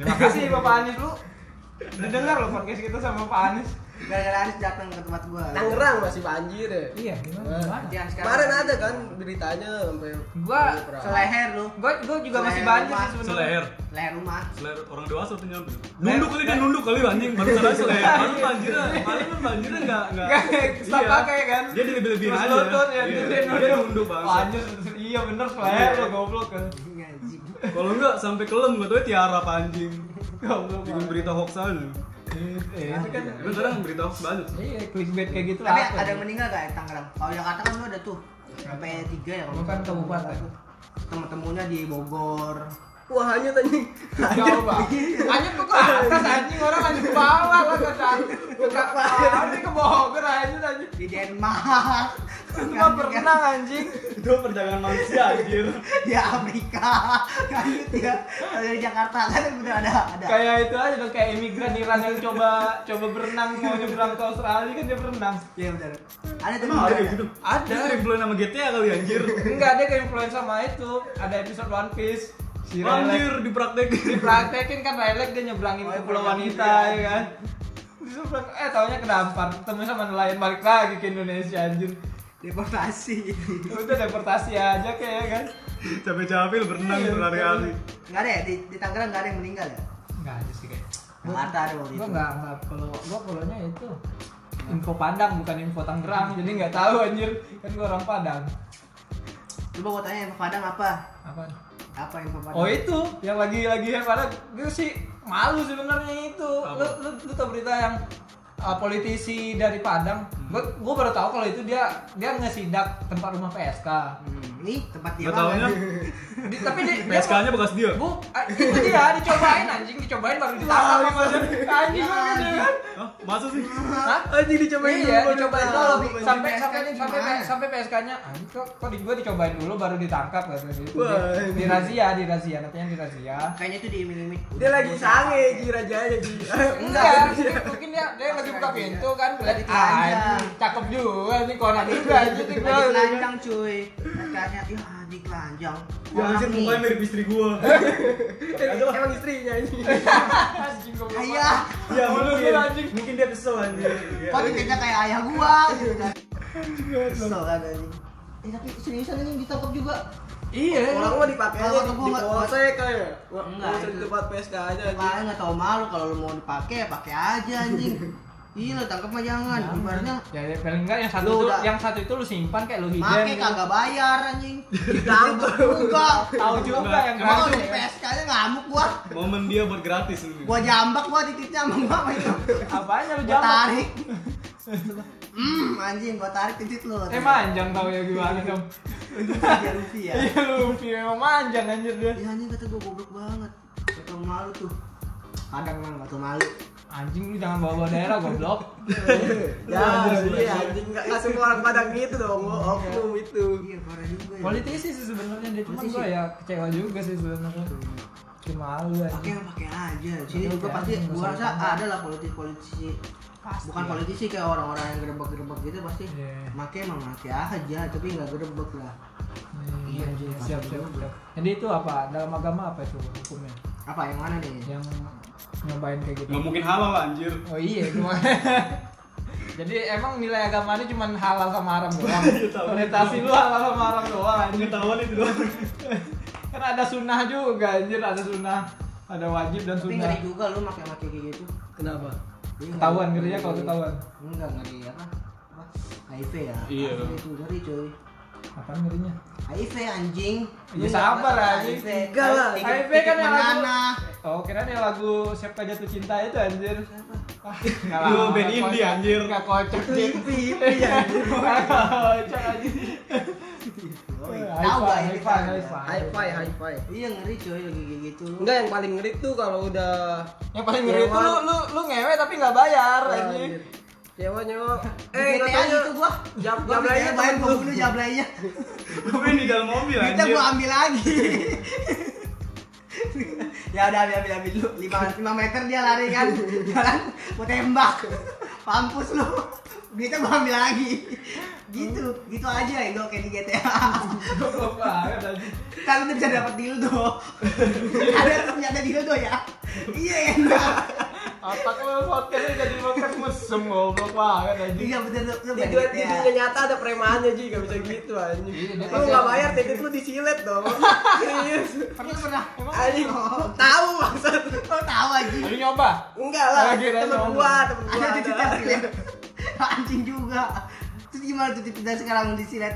[SPEAKER 2] Terima kasih Bapak Anies lu. Didengar loh podcast kita sama Pak Anies.
[SPEAKER 3] Gara-gara Anis datang ke tempat gua.
[SPEAKER 4] Tangerang masih banjir ya.
[SPEAKER 2] Iya, gimana? gimana?
[SPEAKER 3] Jangan sekarang.
[SPEAKER 4] Kemarin ada kan beritanya sampai
[SPEAKER 2] Gua-
[SPEAKER 3] Seleher lu.
[SPEAKER 2] Gue gue juga masih
[SPEAKER 3] Seleher
[SPEAKER 2] banjir
[SPEAKER 3] rumah.
[SPEAKER 2] sih sebenarnya.
[SPEAKER 1] Seleher.
[SPEAKER 3] Leher rumah.
[SPEAKER 1] Seleher orang dewasa tuh nyampe. Nunduk kali dia nunduk kali anjing, baru sadar seleher.
[SPEAKER 2] (laughs)
[SPEAKER 1] Baru banjirnya, baru kan banjirnya enggak enggak.
[SPEAKER 2] Stop
[SPEAKER 1] Iya.
[SPEAKER 2] pakai kan?
[SPEAKER 1] Dia dilebih-lebihin
[SPEAKER 2] Terus
[SPEAKER 1] aja.
[SPEAKER 2] lutut, ya,
[SPEAKER 1] Iya,
[SPEAKER 2] dia nunduk.
[SPEAKER 1] dia nunduk banget.
[SPEAKER 2] Anjir, iya bener seleher lo goblok kan.
[SPEAKER 3] Iya, anjing.
[SPEAKER 1] Kalau enggak sampai kelem gua tuh ya, tiara anjing.
[SPEAKER 2] Goblok.
[SPEAKER 1] Bikin
[SPEAKER 2] banget.
[SPEAKER 1] berita hoax aja. Iya,
[SPEAKER 2] Eh, itu kan
[SPEAKER 1] Tapi sekarang berita hoax banyak.
[SPEAKER 2] Iya, clickbait kayak gitu
[SPEAKER 3] Tapi
[SPEAKER 2] apa
[SPEAKER 3] ada yang
[SPEAKER 2] sih?
[SPEAKER 3] meninggal gak di Tangerang? Kalau Jakarta kan lu ada tuh sampai tiga ya kalau
[SPEAKER 2] Bukan kabupaten.
[SPEAKER 3] Temu-temunya di Bogor.
[SPEAKER 4] Wah hanyut anjing.
[SPEAKER 2] Jauh banget. Anjir tuh ke atas anjing orang lanjut ke bawah lah ke atas. Ke bawah ke Bogor anjir anjir.
[SPEAKER 3] Di Denmark.
[SPEAKER 2] Itu mah
[SPEAKER 3] Kan juga
[SPEAKER 2] berenang anjing.
[SPEAKER 1] Itu perjalanan manusia anjir.
[SPEAKER 3] (laughs) Di Afrika. Kan gitu ya. Kalau dari Jakarta kan udah ada ada.
[SPEAKER 2] Kayak itu aja dong kayak imigran Iran yang coba coba berenang mau nyebrang ke Australia kan dia berenang.
[SPEAKER 3] Iya benar. Ada tuh
[SPEAKER 1] Emang ada
[SPEAKER 3] ada.
[SPEAKER 1] kayak gitu?
[SPEAKER 2] Ada.
[SPEAKER 1] Dia influen sama GTA kali anjir.
[SPEAKER 2] Enggak ada kayak influence sama itu. Ada episode One Piece. Si
[SPEAKER 1] Anjir
[SPEAKER 2] Relek
[SPEAKER 1] dipraktekin.
[SPEAKER 2] dipraktekin kan Relek dia nyebrangin
[SPEAKER 3] Oh,
[SPEAKER 2] ke pulau
[SPEAKER 3] iya.
[SPEAKER 2] wanita ya kan. Disuruh, eh taunya kedampar, ketemu sama nelayan balik lagi ke Indonesia anjir.
[SPEAKER 3] Deportasi.
[SPEAKER 2] Udah deportasi aja kayak kan.
[SPEAKER 1] Capek-capek lu berenang
[SPEAKER 2] Iya,
[SPEAKER 1] berhari-hari.
[SPEAKER 3] Enggak ada ya di, di Tangerang enggak ada yang meninggal ya?
[SPEAKER 2] Enggak ada sih kayak.
[SPEAKER 3] Jakarta ada waktu
[SPEAKER 2] Gua
[SPEAKER 3] itu.
[SPEAKER 2] enggak enggak kalau gua follow-nya itu info Padang bukan info Tangerang jadi nggak tahu anjir kan gua orang Padang
[SPEAKER 3] Coba gua tanya yang ke Padang apa?
[SPEAKER 2] apa
[SPEAKER 3] Apa yang ke Padang?
[SPEAKER 2] Oh itu yang lagi lagi yang pada gue sih malu sebenarnya itu. Lu, lu, lu tau berita yang uh, politisi dari Padang?
[SPEAKER 4] Hmm.
[SPEAKER 2] Gue gue baru tahu kalau itu dia dia ngesidak tempat rumah PSK.
[SPEAKER 3] Hmm, ini tempat dia
[SPEAKER 1] Gak taunya
[SPEAKER 3] makan.
[SPEAKER 2] Di, tapi dia, dia
[SPEAKER 1] PSK-nya bekas dia.
[SPEAKER 2] Bu, ah, itu dia dicobain anjing, dicobain baru ditangkap sama dia. Anjing lu gitu kan.
[SPEAKER 1] Hah? Masa sih?
[SPEAKER 2] Hah?
[SPEAKER 4] Anjing dicobain
[SPEAKER 2] Iya,
[SPEAKER 4] dulu,
[SPEAKER 2] dicobain
[SPEAKER 4] baru
[SPEAKER 2] dulu
[SPEAKER 4] tahu.
[SPEAKER 2] sampai
[SPEAKER 3] PSK-nya
[SPEAKER 2] sampai sampai
[SPEAKER 3] gimana?
[SPEAKER 2] sampai PSK-nya anjing kok kok di gua dicobain dulu baru ditangkap katanya gitu.
[SPEAKER 4] Wah, ini.
[SPEAKER 2] Di razia, di razia, katanya di razia.
[SPEAKER 3] (laughs) Kayaknya itu di iming-iming.
[SPEAKER 4] Dia lagi sange Ji rajanya Ji.
[SPEAKER 2] Enggak, mungkin- Iya, mungkin dia dia lagi
[SPEAKER 3] Iya.
[SPEAKER 2] buka pintu kan
[SPEAKER 3] Lagi
[SPEAKER 2] lihat
[SPEAKER 3] telanjang.
[SPEAKER 2] ah, ini cakep juga nih kona juga anjing
[SPEAKER 3] iya. Lagi
[SPEAKER 2] nih gua.
[SPEAKER 3] telanjang cuy. Katanya ya anjing telanjang.
[SPEAKER 1] Ya anjir mukanya mirip istri gua.
[SPEAKER 4] (laughs) Emang istrinya anjing.
[SPEAKER 2] Anjing gua. belum
[SPEAKER 3] Ayah,
[SPEAKER 1] Ya
[SPEAKER 2] Oh,
[SPEAKER 1] mungkin.
[SPEAKER 2] lu anjing.
[SPEAKER 1] Mungkin dia kesel anjir. Iya.
[SPEAKER 3] kok dikira kayak ayah gua gitu kan. Kesel kan anjing. Eh tapi seriusan ini ditangkap juga.
[SPEAKER 2] Iya.
[SPEAKER 4] Orang mah dipakai aja
[SPEAKER 3] Kalau
[SPEAKER 4] di
[SPEAKER 3] ketemu
[SPEAKER 4] di
[SPEAKER 3] nggak-
[SPEAKER 4] polsek kayak. Wah,
[SPEAKER 3] Enggak,
[SPEAKER 4] polsek
[SPEAKER 3] itu.
[SPEAKER 4] tempat PSK aja anjing.
[SPEAKER 3] Kalian nggak tahu malu kalau lu mau dipakai ya pakai aja anjing. Iya lo tangkap mah jangan. Ibaratnya
[SPEAKER 2] Ya, ya, paling enggak yang satu
[SPEAKER 3] Lu
[SPEAKER 2] itu
[SPEAKER 3] udah-
[SPEAKER 2] yang satu itu lu simpan kayak lu hidden.
[SPEAKER 3] Make
[SPEAKER 2] gitu.
[SPEAKER 3] kagak bayar anjing.
[SPEAKER 4] Ditangkap.
[SPEAKER 3] Enggak.
[SPEAKER 2] Tahu juga
[SPEAKER 1] Enggak,
[SPEAKER 2] yang
[SPEAKER 3] Emang
[SPEAKER 2] gratis.
[SPEAKER 3] kalau di PSK nya ngamuk gua.
[SPEAKER 1] Momen dia buat gratis ini.
[SPEAKER 3] Gua jambak gua titiknya sama gua apa itu.
[SPEAKER 2] Apanya lu
[SPEAKER 3] Gua
[SPEAKER 2] jalan?
[SPEAKER 3] tarik. Hmm, anjing gua tarik titik lu.
[SPEAKER 2] Eh manjang tau ya gimana dong.
[SPEAKER 3] Tiga
[SPEAKER 2] (laughs)
[SPEAKER 3] rupiah.
[SPEAKER 2] Iya lu Luffy memang manjang anjir dia.
[SPEAKER 3] Ya anjing kata gua goblok banget. Gak tau malu tuh. Kadang emang gak tau malu.
[SPEAKER 2] Anjing lu jangan bawa-bawa daerah goblok.
[SPEAKER 4] Ya, iya anjing enggak enggak semua orang Padang gitu dong. Oh, oknum itu.
[SPEAKER 3] Iya parah juga ya.
[SPEAKER 2] Politisi sih sebenarnya dia cuma
[SPEAKER 3] Politisi.
[SPEAKER 2] gua ya kecewa juga sih sebenarnya. Cuma lu
[SPEAKER 3] Pakai
[SPEAKER 2] anjing.
[SPEAKER 3] yang pakai aja. Sini
[SPEAKER 2] Pakai
[SPEAKER 3] juga
[SPEAKER 2] aja,
[SPEAKER 3] pasti
[SPEAKER 2] nggak
[SPEAKER 3] gua
[SPEAKER 2] usah
[SPEAKER 3] rasa
[SPEAKER 2] ditambah.
[SPEAKER 3] ada lah politisi-politisi
[SPEAKER 2] Pasti.
[SPEAKER 3] bukan politisi kayak orang-orang yang gerebek-gerebek gitu pasti
[SPEAKER 2] Iya.
[SPEAKER 3] make emang make aja tapi nggak gerebek lah Hmm,
[SPEAKER 2] Iya, iya, siap, siap, siap. Jadi itu apa? Dalam agama apa itu hukumnya?
[SPEAKER 3] apa yang mana nih
[SPEAKER 2] Yang nyobain kayak gitu.
[SPEAKER 1] Gak mungkin halal anjir.
[SPEAKER 2] Oh iya, cuma (laughs) Jadi emang nilai agamanya cuma halal sama haram
[SPEAKER 3] Iya,
[SPEAKER 2] doang.
[SPEAKER 1] tahu.
[SPEAKER 2] Orientasi lu halal sama haram doang anjir.
[SPEAKER 1] Pengetahuan itu doang.
[SPEAKER 2] Kan ada sunnah juga anjir, ada sunnah. ada wajib dan
[SPEAKER 3] Tapi
[SPEAKER 2] sunnah
[SPEAKER 3] ngeri juga lu makai-makai kayak gitu.
[SPEAKER 1] Kenapa?
[SPEAKER 3] Iya,
[SPEAKER 2] ketahuan
[SPEAKER 3] ngeri.
[SPEAKER 2] ngerinya kalau ketahuan
[SPEAKER 3] Enggak ngeri apa? Apa? HIV ya.
[SPEAKER 1] Iya.
[SPEAKER 3] Asli Itu ngeri coy.
[SPEAKER 2] apa ngerinya
[SPEAKER 3] HIV anjing.
[SPEAKER 2] Ya sabar lah, anjing.
[SPEAKER 3] anjing.
[SPEAKER 4] Enggak lah.
[SPEAKER 2] HIV kan yang lagu oh kira ada lagu siapa jatuh cinta itu anjir Ah, nggak
[SPEAKER 1] Lu
[SPEAKER 2] lama, (laughs)
[SPEAKER 1] band
[SPEAKER 2] nggak
[SPEAKER 1] indie,
[SPEAKER 2] kocak.
[SPEAKER 1] anjir.
[SPEAKER 2] nggak kocak Jin.
[SPEAKER 4] Pipi ya.
[SPEAKER 2] Nggak kocak anjir
[SPEAKER 3] Tahu lah
[SPEAKER 2] High
[SPEAKER 3] ini
[SPEAKER 2] five,
[SPEAKER 3] kan.
[SPEAKER 2] high five.
[SPEAKER 4] High five, high five.
[SPEAKER 3] Iya ngeri coy lagi kayak gitu lu.
[SPEAKER 4] Enggak yang paling ngeri tuh kalau udah
[SPEAKER 2] yang paling ngeri itu lu lu lu ngewe tapi nggak bayar anjing
[SPEAKER 4] Nyewa nyewa.
[SPEAKER 3] Eh,
[SPEAKER 4] Eh,
[SPEAKER 3] GTA
[SPEAKER 4] katanya
[SPEAKER 3] gitu gua.
[SPEAKER 4] Jam
[SPEAKER 3] Gua
[SPEAKER 4] jam
[SPEAKER 3] mikirnya
[SPEAKER 4] lainnya temen
[SPEAKER 3] bayar
[SPEAKER 4] lu.
[SPEAKER 3] pembunuh
[SPEAKER 4] (laughs)
[SPEAKER 3] jablainya.
[SPEAKER 1] Gue di dalam mobil
[SPEAKER 3] Kita
[SPEAKER 1] anjir.
[SPEAKER 3] gua ambil lagi. ya udah ambil ambil ambil lu 5, 5 meter dia lari kan jalan mau tembak pampus lu duitnya gua ambil lagi gitu gitu aja ya gua kayak di GTA
[SPEAKER 2] goblok banget anjing
[SPEAKER 3] kan udah bisa dapat dildo ada ternyata dildo ya iya enak
[SPEAKER 2] otak lu podcast lu jadi podcast mesum goblok banget anjing
[SPEAKER 3] iya bener tuh lu
[SPEAKER 4] Di
[SPEAKER 3] main
[SPEAKER 4] duet di
[SPEAKER 3] GTA.
[SPEAKER 4] dunia nyata ada premannya Ji, gak bisa gitu anjing.
[SPEAKER 2] Iya, dia
[SPEAKER 4] Lu
[SPEAKER 2] pasti-
[SPEAKER 4] gak bayar titik lu disilet (laughs) dong. Serius.
[SPEAKER 3] pernah pernah emang
[SPEAKER 4] Anjing,
[SPEAKER 3] Oh.
[SPEAKER 4] tahu maksud.
[SPEAKER 3] lo tahu aja
[SPEAKER 2] lu nyoba
[SPEAKER 4] Enggak lah,
[SPEAKER 2] Lagi
[SPEAKER 4] temen
[SPEAKER 2] nanya orang.
[SPEAKER 4] gua, temen gua.
[SPEAKER 3] ada di
[SPEAKER 4] ada.
[SPEAKER 3] titik (laughs) silet anjing juga terus gimana tuh titik sekarang lu disilet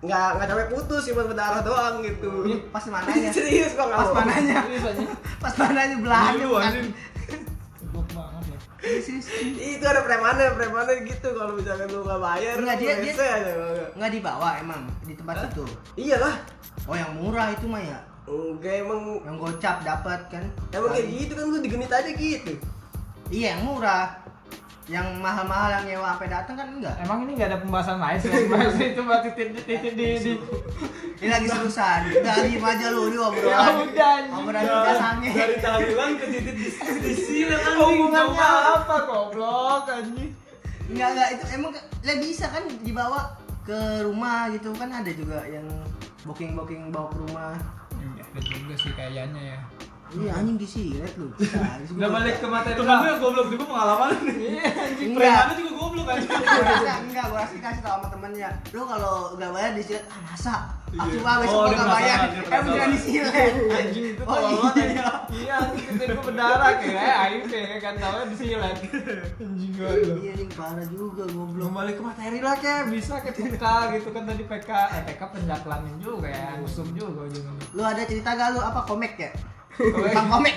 [SPEAKER 4] Enggak, enggak sampai putus, cuma berdarah doang gitu.
[SPEAKER 3] pas mananya
[SPEAKER 4] Serius gua enggak
[SPEAKER 3] pas
[SPEAKER 4] mau.
[SPEAKER 3] mananya
[SPEAKER 2] serius anjing
[SPEAKER 3] pas mananya belahannya
[SPEAKER 1] Dulu
[SPEAKER 3] bukan
[SPEAKER 1] anjing.
[SPEAKER 2] goblok banget ya
[SPEAKER 3] Iya, serius
[SPEAKER 4] Itu ada premannya, premannya gitu kalau misalkan lu gak bayar.
[SPEAKER 3] Enggak, dia-
[SPEAKER 4] lu
[SPEAKER 3] dia-
[SPEAKER 4] rese aja, enggak.
[SPEAKER 3] nggak dibawa emang di tempat itu
[SPEAKER 4] Iyalah.
[SPEAKER 3] oh yang murah itu mah ya
[SPEAKER 4] Enggak emang
[SPEAKER 3] yang gocap dapat kan
[SPEAKER 4] emang kayak
[SPEAKER 3] Kali.
[SPEAKER 4] gitu kan lu digenit aja gitu.
[SPEAKER 3] Iya yang murah. Yang mahal-mahal yang nyewa sampai datang kan enggak.
[SPEAKER 2] emang ini nggak ada pembahasan lain sih (laughs) Mas? itu mah titik titik di di
[SPEAKER 3] Ini lagi serusan. Udah diem aja lu ini obrolan.
[SPEAKER 2] ya udah anjing
[SPEAKER 3] Obrolan kita sange.
[SPEAKER 1] Dari tahlilan ke titik di di sini anjing.
[SPEAKER 2] hubungannya
[SPEAKER 1] Coba.
[SPEAKER 2] apa goblok anjing
[SPEAKER 3] Enggak enggak itu emang ke- lah bisa kan dibawa ke rumah gitu kan ada juga yang booking-booking bawa ke rumah.
[SPEAKER 2] Ya, ada juga sih kayaknya ya
[SPEAKER 3] Iya anjing disilet lu. Nah,
[SPEAKER 2] udah balik ke materi
[SPEAKER 1] Temen gue yang goblok juga pengalaman.
[SPEAKER 2] Iya, anjing.
[SPEAKER 1] Premannya
[SPEAKER 3] Enggak.
[SPEAKER 1] juga goblok anjing.
[SPEAKER 3] Gua rasa enggak, gua rasa dikasih tau sama temennya Lu kalau gak bayar disilet, ah masa? Ah
[SPEAKER 1] Iya.
[SPEAKER 3] coba besok
[SPEAKER 1] Oh,
[SPEAKER 3] gua
[SPEAKER 1] dia
[SPEAKER 3] gak bayar Kan
[SPEAKER 1] penasaran, dia
[SPEAKER 3] Emang beneran
[SPEAKER 1] penasaran.
[SPEAKER 2] (laughs)
[SPEAKER 3] disilet
[SPEAKER 2] anjing itu
[SPEAKER 3] Oh,
[SPEAKER 2] tolol banget
[SPEAKER 3] iya.
[SPEAKER 2] anjing. iya anjing titik gue berdarah kayak AIP kan tau disilet anjing gue lu.
[SPEAKER 3] Iya anjing parah juga goblok
[SPEAKER 2] belum balik ke materi lah kayak bisa ke PK gitu kan tadi PK eh PK penjaklanin juga ya usum juga ujungnya
[SPEAKER 3] Lu ada cerita gak lu apa komek ya?
[SPEAKER 2] Komek.
[SPEAKER 3] Bang komek.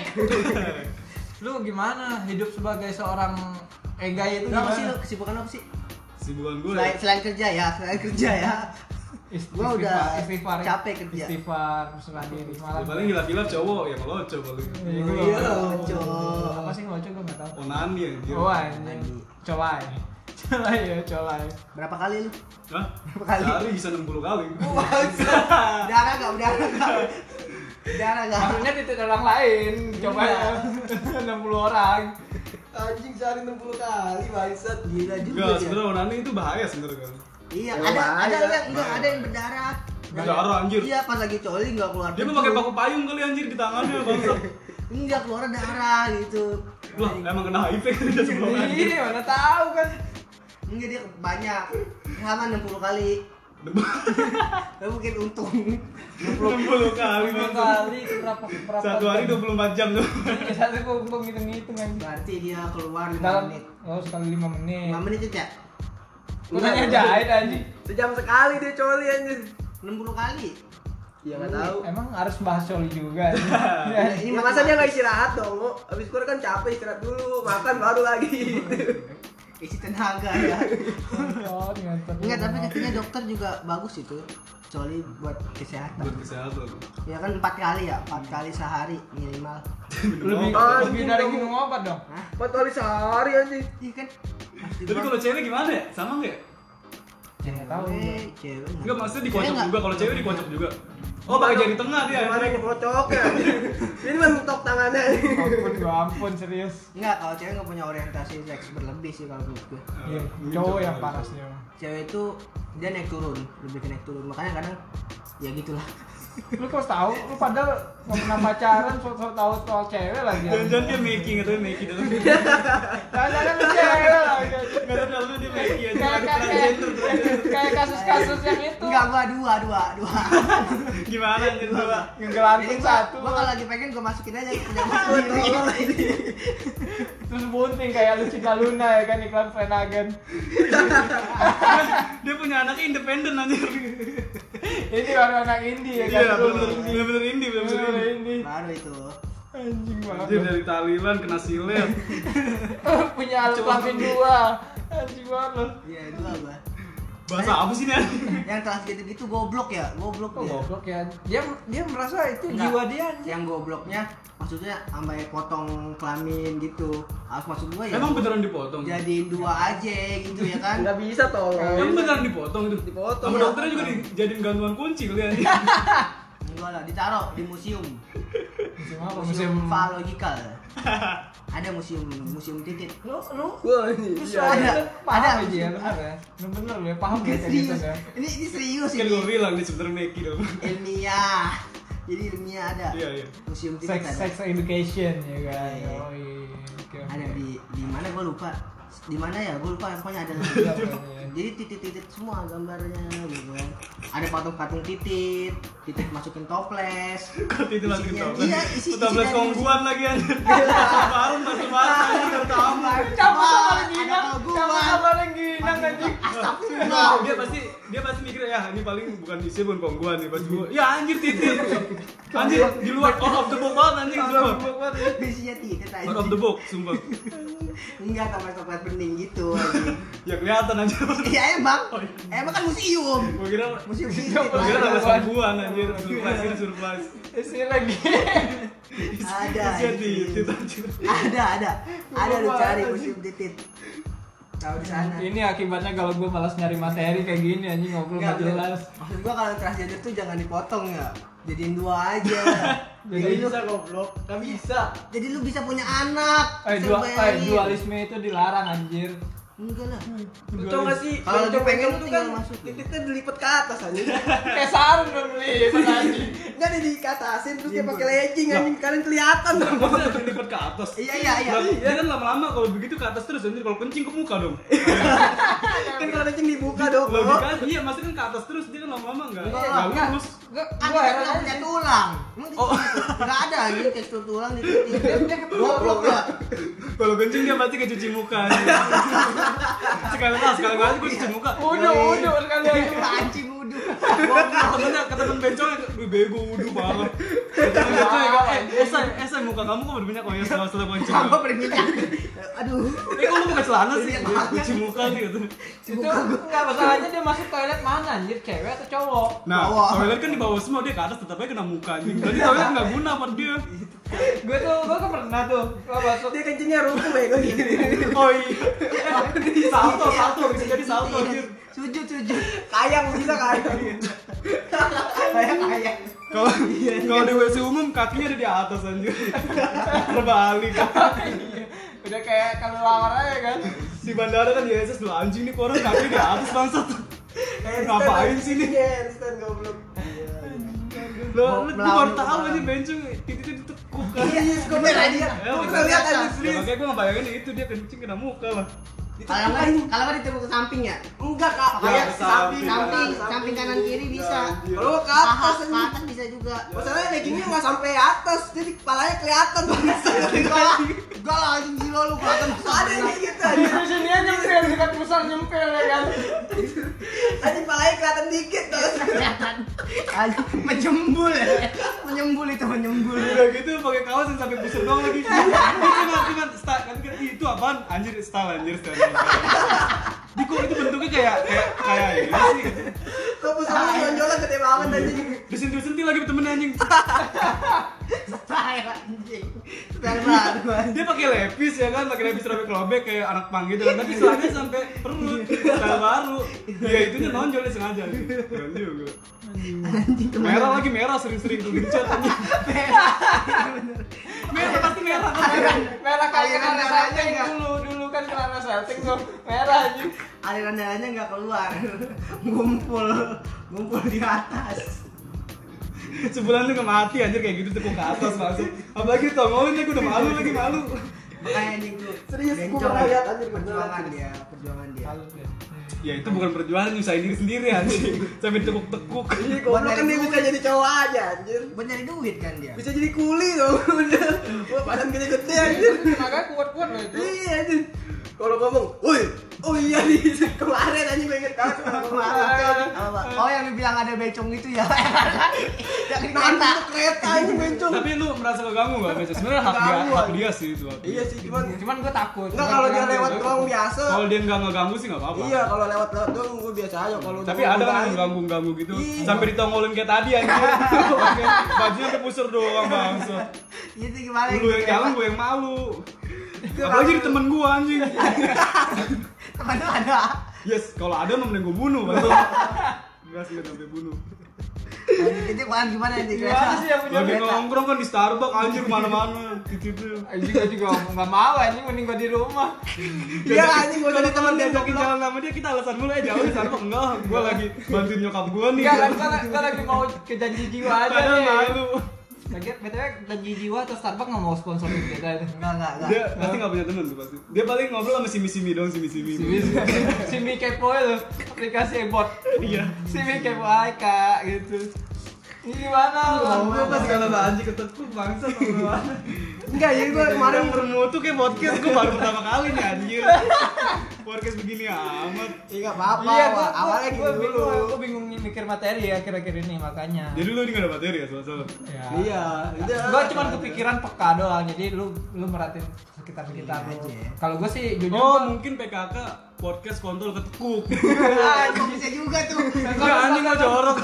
[SPEAKER 2] lu gimana hidup sebagai seorang egai itu
[SPEAKER 3] Lu apa sih lu
[SPEAKER 2] gimana?
[SPEAKER 3] kesibukan apa sih?
[SPEAKER 1] Sibukan gue.
[SPEAKER 3] Selain, selain kerja ya, selain kerja ya.
[SPEAKER 2] Ist-
[SPEAKER 3] Gua udah
[SPEAKER 2] istighfar,
[SPEAKER 3] capek kerja.
[SPEAKER 2] istighfar berserah diri
[SPEAKER 1] Ya,
[SPEAKER 2] malam
[SPEAKER 1] paling hilap-hilap cowok ya kalau cowok paling.
[SPEAKER 2] Iya, gua
[SPEAKER 4] Ya
[SPEAKER 3] Iya,
[SPEAKER 2] nggak
[SPEAKER 4] Oh.
[SPEAKER 2] tahu.
[SPEAKER 3] lucu.
[SPEAKER 2] Oh. apa sih ngelucu gue nggak tahu
[SPEAKER 1] Onani anjir.
[SPEAKER 2] oh anjing coba (laughs) ya coba ya coba ya
[SPEAKER 3] Berapa kali lu?
[SPEAKER 1] Hah?
[SPEAKER 3] Berapa kali? Iya.
[SPEAKER 1] Sehari bisa 60 kali.
[SPEAKER 3] Udara gak? Udara gak? Udara gak?
[SPEAKER 2] maksudnya titik orang lain coba (laughs) ya 60 orang
[SPEAKER 4] Anjing sehari 60 kali bangsat.
[SPEAKER 3] Gila juga
[SPEAKER 1] Enggak,
[SPEAKER 3] ya.
[SPEAKER 1] sebenarnya onani itu bahaya sebenarnya kan.
[SPEAKER 3] Iya,
[SPEAKER 4] Ya,
[SPEAKER 3] ada
[SPEAKER 4] bahaya.
[SPEAKER 3] ada yang enggak ada yang berdarah.
[SPEAKER 1] Berdarah, anjir.
[SPEAKER 3] Iya, pas lagi coli enggak keluar.
[SPEAKER 1] Dia mah
[SPEAKER 3] kencur.
[SPEAKER 1] pakai paku payung kali anjir di tangannya bangsat.
[SPEAKER 3] Enggak keluar darah gitu.
[SPEAKER 1] Lah, emang kena HIV kan dia sebelum anjir.
[SPEAKER 2] iya mana tahu kan
[SPEAKER 3] Enggak dia banyak. Halaman 60 kali. Lu mungkin untung.
[SPEAKER 1] 60 kali
[SPEAKER 2] dua
[SPEAKER 1] bangsat.
[SPEAKER 2] kali itu berapa berapa
[SPEAKER 1] Satu hari 24 jam tuh.
[SPEAKER 2] Iya, satu gue gue ngitung ngitung kan
[SPEAKER 3] Berarti dia keluar 5
[SPEAKER 2] dalam
[SPEAKER 3] menit.
[SPEAKER 2] oh sekali lima
[SPEAKER 3] 5
[SPEAKER 2] menit
[SPEAKER 3] menit aja.
[SPEAKER 2] gue tanya jahit anjing
[SPEAKER 4] Sejam sekali dia coli anjing.
[SPEAKER 3] 60 kali.
[SPEAKER 4] Ya enggak tahu.
[SPEAKER 2] emang harus bahas coli juga
[SPEAKER 1] (laughs)
[SPEAKER 2] anjing.
[SPEAKER 3] Ya,
[SPEAKER 2] Iya.
[SPEAKER 3] ini
[SPEAKER 4] Ya, masa dia nggak istirahat dong, Mo? Abis keluar kan capek istirahat dulu, makan baru (laughs) lagi.
[SPEAKER 3] isi tenaga ya
[SPEAKER 2] Oh, ngentot.
[SPEAKER 3] enggak tapi katanya dokter juga bagus itu kecuali buat kesehatan
[SPEAKER 1] Buat kesehatan.
[SPEAKER 3] ya kan empat kali ya empat kali sehari minimal
[SPEAKER 2] lebih
[SPEAKER 1] Oh,
[SPEAKER 4] Anjing
[SPEAKER 2] lebih dari
[SPEAKER 4] dong.
[SPEAKER 2] minum obat dong.
[SPEAKER 3] Hah?
[SPEAKER 4] Empat kali sehari anjing.
[SPEAKER 3] iya kan Harus
[SPEAKER 1] Tapi
[SPEAKER 3] dibuat.
[SPEAKER 1] kalau cewek gimana ya? Sama nggak ya?
[SPEAKER 2] Ya nggak tahu.
[SPEAKER 4] Eh,
[SPEAKER 3] cewek cewek
[SPEAKER 1] Enggak maksudnya dikocok
[SPEAKER 3] Cewek
[SPEAKER 1] juga kalau cewek dikocok juga. Oh, pakai jari tengah dia.
[SPEAKER 4] Gimana
[SPEAKER 1] anjing.
[SPEAKER 4] nyekocok ya? Ini mentok tangannya.
[SPEAKER 2] Ampun, gua ampun serius.
[SPEAKER 3] enggak kalau cewek nggak punya orientasi seks berlebih sih kalau menurut gue
[SPEAKER 2] Iya,
[SPEAKER 1] mungkin
[SPEAKER 2] cowok yang
[SPEAKER 1] kali.
[SPEAKER 2] parasnya.
[SPEAKER 3] cewek itu dia naik turun lebih ke naik turun makanya kadang ya gitulah
[SPEAKER 2] lu kok tahu lu padahal nggak pernah pacaran so so tahu soal cewek lagi
[SPEAKER 1] Jangan-jangan dia making atau dia making dalam
[SPEAKER 2] jangan lu cewek lagi
[SPEAKER 1] Gak tau lalu dia making aja
[SPEAKER 2] kayak
[SPEAKER 1] ada
[SPEAKER 2] kayak
[SPEAKER 1] transgender, transgender.
[SPEAKER 2] kayak kasus-kasus yang itu
[SPEAKER 3] Enggak, gua dua, dua, dua.
[SPEAKER 1] Gimana anjir dua?
[SPEAKER 2] ngegelantung
[SPEAKER 3] gua,
[SPEAKER 2] satu
[SPEAKER 3] gua kalau lagi pengen gua masukin aja punya gua sendiri.
[SPEAKER 2] terus bunting kayak Lucinta Luna ya kan iklan Flanagan
[SPEAKER 1] Dia punya anaknya independen anjir
[SPEAKER 2] ini orang anak indie ya
[SPEAKER 1] Iya
[SPEAKER 2] kan
[SPEAKER 1] bener
[SPEAKER 2] Bunting.
[SPEAKER 1] Bener-bener indie Bener-bener
[SPEAKER 2] Bener-bener
[SPEAKER 1] indie
[SPEAKER 2] indie
[SPEAKER 3] Baru itu.
[SPEAKER 2] anjing
[SPEAKER 1] Anjir
[SPEAKER 2] banget
[SPEAKER 1] dari Thailand kena silet
[SPEAKER 2] punya alat kelamin dua anjing banget lo
[SPEAKER 3] Iya, dua gua.
[SPEAKER 1] Bahasa apa sih ini anjir?
[SPEAKER 3] Yang kelas gitu-gitu goblok ya, goblok
[SPEAKER 1] Oh,
[SPEAKER 2] kok
[SPEAKER 3] dia.
[SPEAKER 2] goblok ya dia dia merasa itu
[SPEAKER 3] Enggak.
[SPEAKER 2] jiwa dia anjing.
[SPEAKER 3] Yang gobloknya maksudnya sampai potong kelamin gitu. Harus maksud gua ya.
[SPEAKER 1] Emang beneran dipotong?
[SPEAKER 3] jadiin dua aja gitu ya kan.
[SPEAKER 4] Nggak bisa tolong.
[SPEAKER 1] Emang beneran dipotong itu?
[SPEAKER 4] Dipotong,
[SPEAKER 1] Sama
[SPEAKER 4] ya.
[SPEAKER 1] dokternya juga dijadiin gantungan kunci kali ya. kan anjir
[SPEAKER 3] Enggak lah, ditaruh di museum.
[SPEAKER 2] musim apa musim
[SPEAKER 3] Museum Faalogical. Ada museum museum titik.
[SPEAKER 2] lu lu
[SPEAKER 4] Gua anjing.
[SPEAKER 2] lu
[SPEAKER 4] Iya.
[SPEAKER 2] soalnya
[SPEAKER 3] ada.
[SPEAKER 2] paham
[SPEAKER 3] Ada.
[SPEAKER 2] aja ya lu bener ya lu bener lu ya paham ya kayak gitu
[SPEAKER 3] serius.
[SPEAKER 2] ya
[SPEAKER 3] Ini ini serius
[SPEAKER 1] Kan gue
[SPEAKER 3] ini.
[SPEAKER 1] bilang dia sebenernya making dong
[SPEAKER 3] Ilmiah. Jadi ilmiah ada.
[SPEAKER 1] Iya iya
[SPEAKER 3] Museum
[SPEAKER 2] sex
[SPEAKER 3] titik ada.
[SPEAKER 2] sex education ya kan
[SPEAKER 3] Iya.
[SPEAKER 2] oh iya oke oke.
[SPEAKER 3] Ada di di mana gua lupa. Di mana ya? Gua lupa pokoknya ada.
[SPEAKER 2] Iya, pokoknya.
[SPEAKER 3] Jadi titik-titik semua gambarnya gitu kan. Ada patung-patung titik, titik masukin toples.
[SPEAKER 1] Kok itu masukin
[SPEAKER 3] Isinya-
[SPEAKER 1] tau
[SPEAKER 3] Iya, isi isi
[SPEAKER 1] belas
[SPEAKER 3] dari museum.
[SPEAKER 1] kongguan
[SPEAKER 3] (laughs)
[SPEAKER 1] lagi ya. anjir Baru masuk banget anjir
[SPEAKER 3] Tambah.
[SPEAKER 2] Campur
[SPEAKER 3] Wah,
[SPEAKER 2] sama lagi
[SPEAKER 3] ada
[SPEAKER 2] nang, campur
[SPEAKER 3] gua.
[SPEAKER 2] sama lagi nang anjing.
[SPEAKER 3] Astagfirullah.
[SPEAKER 1] Nah, dia pasti dia pasti mikir ya ini paling bukan isi bukan kongguan nih pas gua ya anjir titit anjir di luar out of the box banget anjir sumpah
[SPEAKER 3] Isinya titik aja.
[SPEAKER 1] out of the box sumpah
[SPEAKER 3] Enggak toples-toples bening gitu anjing.
[SPEAKER 1] ya kelihatan anjir
[SPEAKER 3] Iya emang. Emang kan museum.
[SPEAKER 1] gua kira
[SPEAKER 3] Museum titik.
[SPEAKER 1] gua kira ada
[SPEAKER 3] Ada.
[SPEAKER 1] kongguan anjir surprise ini surprise
[SPEAKER 2] Isi lagi.
[SPEAKER 3] Ada,
[SPEAKER 1] isinya
[SPEAKER 3] anjing.
[SPEAKER 1] titit anjir
[SPEAKER 3] Ada, ada. Ada lu
[SPEAKER 2] Gua
[SPEAKER 3] cari
[SPEAKER 2] banget,
[SPEAKER 3] museum titik. Tahu di sana.
[SPEAKER 2] Ini akibatnya kalau gue malas nyari materi kayak gini anjing ngobrol
[SPEAKER 3] Enggak
[SPEAKER 2] nggak
[SPEAKER 3] jelas.
[SPEAKER 2] jelas.
[SPEAKER 3] Maksud gua kalau transgender tuh jangan dipotong ya. Jadiin dua
[SPEAKER 2] (laughs)
[SPEAKER 3] aja.
[SPEAKER 2] Jadi
[SPEAKER 3] Iya,
[SPEAKER 4] Nggak bisa goblok. Nggak bisa.
[SPEAKER 3] Jadi lu bisa punya anak.
[SPEAKER 2] eh,
[SPEAKER 3] Bisa
[SPEAKER 2] dua, eh,
[SPEAKER 3] bayangin.
[SPEAKER 2] dualisme itu dilarang anjir.
[SPEAKER 3] Enggak lah.
[SPEAKER 4] Lu tau gak sih?
[SPEAKER 3] Kalau
[SPEAKER 4] cowok
[SPEAKER 3] dipegang
[SPEAKER 4] itu
[SPEAKER 3] tinggal
[SPEAKER 4] kan
[SPEAKER 3] masukin.
[SPEAKER 4] titiknya dilipet ke atas anjing.
[SPEAKER 2] Kayak sarung dong beli anjing.
[SPEAKER 4] Enggak ada dikatasin terus dia pakai legging anjing kalian kelihatan dong.
[SPEAKER 1] Masa udah lipat ke atas?
[SPEAKER 3] Iya, iya, iya.
[SPEAKER 1] Lah, Dia kan lama-lama kalau begitu ke atas terus anjir kalau kencing ke muka dong.
[SPEAKER 4] Kan kalau legging dibuka dong.
[SPEAKER 1] Logikanya iya, maksudnya kan ke atas terus dia kan lama-lama
[SPEAKER 3] Iya,
[SPEAKER 1] enggak enggak lurus.
[SPEAKER 2] Gue
[SPEAKER 3] Kan
[SPEAKER 2] gue
[SPEAKER 3] dia
[SPEAKER 2] heran
[SPEAKER 3] nggak
[SPEAKER 2] aja. Oh.
[SPEAKER 3] punya tulang. Emang di- nggak ada gitu tekstur tulang di
[SPEAKER 2] (laughs)
[SPEAKER 3] titik. Goblok ya.
[SPEAKER 1] Kalau kencing dia pasti kecuci muka.
[SPEAKER 3] (laughs)
[SPEAKER 1] anjir. sekali lah, sekali aja gue cuci muka.
[SPEAKER 2] Udah,
[SPEAKER 3] Iya.
[SPEAKER 2] udah sekali
[SPEAKER 3] Dia
[SPEAKER 2] aja.
[SPEAKER 3] Anjing
[SPEAKER 2] (laughs)
[SPEAKER 3] wudhu.
[SPEAKER 1] Kata temennya, kata temen bencongnya, gue bego wudhu banget. Kata temen bencongnya, kayak, eh, esai, esai muka kamu kok berminyak kok ya setelah setelah kencing.
[SPEAKER 3] Sama berminyak. Aduh.
[SPEAKER 1] Eh, kok lu pakai celana
[SPEAKER 3] Iya.
[SPEAKER 1] sih? Dia cuci muka nih gitu.
[SPEAKER 2] Itu enggak masalahnya dia masuk toilet mana anjir, cewek atau cowok?
[SPEAKER 1] Nah,
[SPEAKER 3] Bawah.
[SPEAKER 1] toilet kan di bawah semua, dia ke atas tetap aja kena muka anjing. Berarti toilet nggak guna buat dia.
[SPEAKER 2] Gue tuh gue kan pernah tuh gue masuk
[SPEAKER 4] Dia kencingnya ruku bego
[SPEAKER 3] iya,
[SPEAKER 4] Iya. gini.
[SPEAKER 1] Oh iya. Eh, Salto, salto, bisa jadi salto anjir.
[SPEAKER 3] Sujud, sujud.
[SPEAKER 4] Iya. Kayang bisa kayang.
[SPEAKER 3] Iya. Kayak kayak.
[SPEAKER 1] Kalau kalau di WC umum kakinya ada di atas anjir. Terbalik.
[SPEAKER 2] udah kayak kelelawar aja kan.
[SPEAKER 1] Di bandara kan di SS dulu anjing nih orang kakinya di atas bangsat.
[SPEAKER 4] Eh,
[SPEAKER 1] Ngapain sih Iya. nih?
[SPEAKER 4] Handstand goblok.
[SPEAKER 1] Lo lu gua baru
[SPEAKER 3] Melawan
[SPEAKER 1] tahu
[SPEAKER 3] orang.
[SPEAKER 1] aja bencong titiknya ditekuk kan.
[SPEAKER 4] Iya, yes, gue pernah lihat.
[SPEAKER 3] Eh,
[SPEAKER 1] Ya,
[SPEAKER 4] Gue
[SPEAKER 1] makanya-
[SPEAKER 4] pernah lihat anjing serius.
[SPEAKER 1] Makanya gue ngebayangin itu dia kencing kena muka lah.
[SPEAKER 3] Kalau nggak, kalau nggak ditepuk ke samping ya.
[SPEAKER 4] Enggak, Kak.
[SPEAKER 1] Ya,
[SPEAKER 4] Kayak
[SPEAKER 1] ke
[SPEAKER 4] samping,
[SPEAKER 1] samping,
[SPEAKER 3] Samping, samping kanan kiri bisa.
[SPEAKER 4] Kalau ke
[SPEAKER 3] Paha
[SPEAKER 4] atas
[SPEAKER 3] ke
[SPEAKER 4] anjing.
[SPEAKER 3] atas bisa juga.
[SPEAKER 4] Masalahnya leggingnya nggak sampai atas, jadi kepalanya kelihatan banget.
[SPEAKER 3] (laughs) Enggak lah, enggak lah anjing gila lu kelihatan
[SPEAKER 4] Ada yang gitu
[SPEAKER 2] Di
[SPEAKER 4] anjing.
[SPEAKER 2] sini aja nyempil dekat pusar nyempil ya kan.
[SPEAKER 4] Anjing kepalanya kelihatan dikit banget.
[SPEAKER 3] kelihatan. Anjing menjembul. Menyembul itu menyembul.
[SPEAKER 1] Udah gitu pakai kaos yang sampai busur doang lagi. Itu nanti kan style kan kira "Ih, itu apaan? Anjir style anjir style. Di kok itu bentuknya kayak kayak kayak ini sih.
[SPEAKER 4] Kok pusatnya jonjolan gede banget anjing.
[SPEAKER 1] Disentil-sentil lagi temennya anjing.
[SPEAKER 3] Style anjing. Style baru anjing.
[SPEAKER 1] Dia pakai lepis ya kan, pakai lepis robek robek kayak anak pang gitu kan. Tapi
[SPEAKER 4] Iya.
[SPEAKER 1] celana sampai perut, style baru. Ya itu dia nonjol dia sengaja.
[SPEAKER 4] Iya,
[SPEAKER 1] Keren juga.
[SPEAKER 3] Anjing
[SPEAKER 1] Merah lagi merah sering-sering tuh dicat. anjing.
[SPEAKER 4] Iya,
[SPEAKER 1] Merah pasti merah kan.
[SPEAKER 2] Merah kayak
[SPEAKER 3] Aliran
[SPEAKER 2] celana
[SPEAKER 3] darahnya
[SPEAKER 2] selting
[SPEAKER 3] nggak?
[SPEAKER 2] dulu dulu kan celana selting tuh merah anjing.
[SPEAKER 3] aliran darahnya nggak keluar ngumpul ngumpul di atas
[SPEAKER 1] sebulan juga mati anjir kayak gitu tekuk ke atas langsung apalagi tongolin aku udah malu lagi malu
[SPEAKER 3] makanya anjing tuh
[SPEAKER 4] Serius, gua
[SPEAKER 3] bencong.
[SPEAKER 4] pernah lihat, anjir, beneran.
[SPEAKER 3] perjuangan dia perjuangan dia
[SPEAKER 1] ya itu bukan perjuangan nyusahin diri sendiri anjir sampai tekuk-tekuk
[SPEAKER 4] Ini goblok kan dia bisa jadi cowok aja anjir.
[SPEAKER 3] buat nyari duit kan dia
[SPEAKER 4] Bisa jadi kuli dong. (laughs) Udah. Wah, badan gede-gede anjir.
[SPEAKER 2] Tenaga kuat-kuat loh itu.
[SPEAKER 4] Iya anjir. Kalau ngomong, "Woi, oh iya nih (laughs) kemarin kan." anjing gue inget banget kalau kemarin."
[SPEAKER 3] Apa? oh yang dibilang ada becong itu ya yang di
[SPEAKER 4] Nahan
[SPEAKER 3] kereta
[SPEAKER 4] untuk kereta anjing bencong.
[SPEAKER 1] tapi lu merasa keganggu gak Beca? sebenarnya hak dia
[SPEAKER 4] Keganggu,
[SPEAKER 1] hak
[SPEAKER 4] anjir.
[SPEAKER 1] dia sih itu hak dia.
[SPEAKER 4] Iya sih, cuman
[SPEAKER 2] Cuman gue takut.
[SPEAKER 4] enggak kalau dia lewat doang biasa.
[SPEAKER 1] kalau dia nggak ngeganggu sih nggak apa-apa
[SPEAKER 4] Iya, kalau lewat-lewat doang gue biasa aja kalau
[SPEAKER 1] tapi
[SPEAKER 4] udah
[SPEAKER 1] ada kan
[SPEAKER 4] ngomong,
[SPEAKER 1] yang ganggu-ganggu gitu
[SPEAKER 4] Iya.
[SPEAKER 1] sampai ditongolin kayak tadi anjir Pakai bajunya sampai pusar doang bang
[SPEAKER 3] itu gimana
[SPEAKER 1] lu
[SPEAKER 4] gitu
[SPEAKER 1] yang
[SPEAKER 4] ya.
[SPEAKER 3] Kenapa?
[SPEAKER 1] jalan gue yang malu apalagi jadi temen gue anjing
[SPEAKER 3] teman lu ada
[SPEAKER 1] yes kalau ada mah mending gue bunuh bang Gas liat sampai bunuh
[SPEAKER 3] Anjing, itu kemarin gimana di kereta
[SPEAKER 2] Gimana Iya sih yang
[SPEAKER 4] Iya,
[SPEAKER 2] punya
[SPEAKER 1] Lagi
[SPEAKER 2] kereta?
[SPEAKER 1] nongkrong kan di Starbucks Gitu. anjir mana-mana Gitu-gitu
[SPEAKER 2] Anjing gue juga nggak mau anjing mending gue di rumah.
[SPEAKER 4] Iya anjing gue jadi teman dia Iya.
[SPEAKER 1] diajakin jalan sama dia kita alasan mulu ya jauh di Starbucks Enggak, gue lagi bantuin nyokap gue nih
[SPEAKER 2] Enggak kan
[SPEAKER 1] (laughs)
[SPEAKER 2] gua- gua lagi mau ke janji jiwa aja.
[SPEAKER 1] Padahal
[SPEAKER 4] ya.
[SPEAKER 2] nih.
[SPEAKER 1] malu
[SPEAKER 2] Lagi BTW janji jiwa atau Starbucks nggak mau sponsorin kita itu.
[SPEAKER 3] enggak enggak enggak
[SPEAKER 1] Dia pasti gak punya temen tuh pasti Dia paling ngobrol sama si Missimi doang, si Missimi
[SPEAKER 2] Simi kepo itu aplikasi bot.
[SPEAKER 1] Iya
[SPEAKER 2] Simi kepo ay kak gitu. Ini gimana? lu?
[SPEAKER 1] Gue pas kata anjing ketekuk bangsa
[SPEAKER 4] (laughs)
[SPEAKER 1] sama
[SPEAKER 4] Enggak,
[SPEAKER 2] iya,
[SPEAKER 4] jadi gue
[SPEAKER 3] Iya,
[SPEAKER 1] kemarin
[SPEAKER 4] kemarin
[SPEAKER 1] bermutu kayak podcast gue baru pertama kali nih anjir podcast begini amat
[SPEAKER 4] Iya, enggak apa-apa.
[SPEAKER 2] Iya, gua,
[SPEAKER 4] Awalnya gitu dulu.
[SPEAKER 2] bingung, gua bingung nih mikir materi ya kira-kira ini makanya.
[SPEAKER 1] jadi lu ini gak ada materi ya soal-soal
[SPEAKER 2] Ya.
[SPEAKER 4] Iya, udah.
[SPEAKER 2] Gua cuman kepikiran peka doang, jadi lu lu merhatiin sekitar sekitar
[SPEAKER 3] Iya
[SPEAKER 2] lu.
[SPEAKER 3] aja ya.
[SPEAKER 2] Kalau gua sih jujur
[SPEAKER 1] oh
[SPEAKER 2] gua-
[SPEAKER 1] mungkin PKK podcast kontol (laughs) ketekuk
[SPEAKER 2] Ah, iya.
[SPEAKER 3] Kok bisa juga tuh
[SPEAKER 1] enggak anjing mau jorok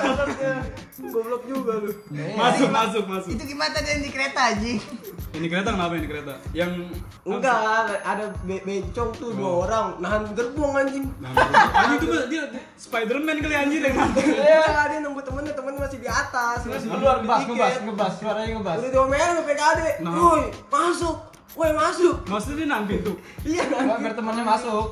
[SPEAKER 4] goblok juga lu.
[SPEAKER 2] Iya.
[SPEAKER 1] masuk masuk masuk
[SPEAKER 3] itu gimana tadi yang di kereta anjing
[SPEAKER 1] ini kereta kenapa ini kereta yang Oh.
[SPEAKER 4] Enggak, ada be- bencong tuh dua orang nahan gerbong anjing.
[SPEAKER 1] Nah, anjing itu mah dia Spiderman kali anjir yang nanti
[SPEAKER 4] Iya, dia nunggu temennya, temen masih di atas.
[SPEAKER 2] Terus
[SPEAKER 4] masih
[SPEAKER 2] lu
[SPEAKER 4] belum
[SPEAKER 2] ngebas,
[SPEAKER 4] tiket.
[SPEAKER 2] ngebas, ngebas, suaranya ngebas.
[SPEAKER 4] Udah diomelin sama PKD.
[SPEAKER 1] Nah.
[SPEAKER 4] Woi, masuk. Woi, masuk.
[SPEAKER 1] maksudnya dia nanti tuh
[SPEAKER 4] Iya kan?
[SPEAKER 2] Gua biar temannya masuk.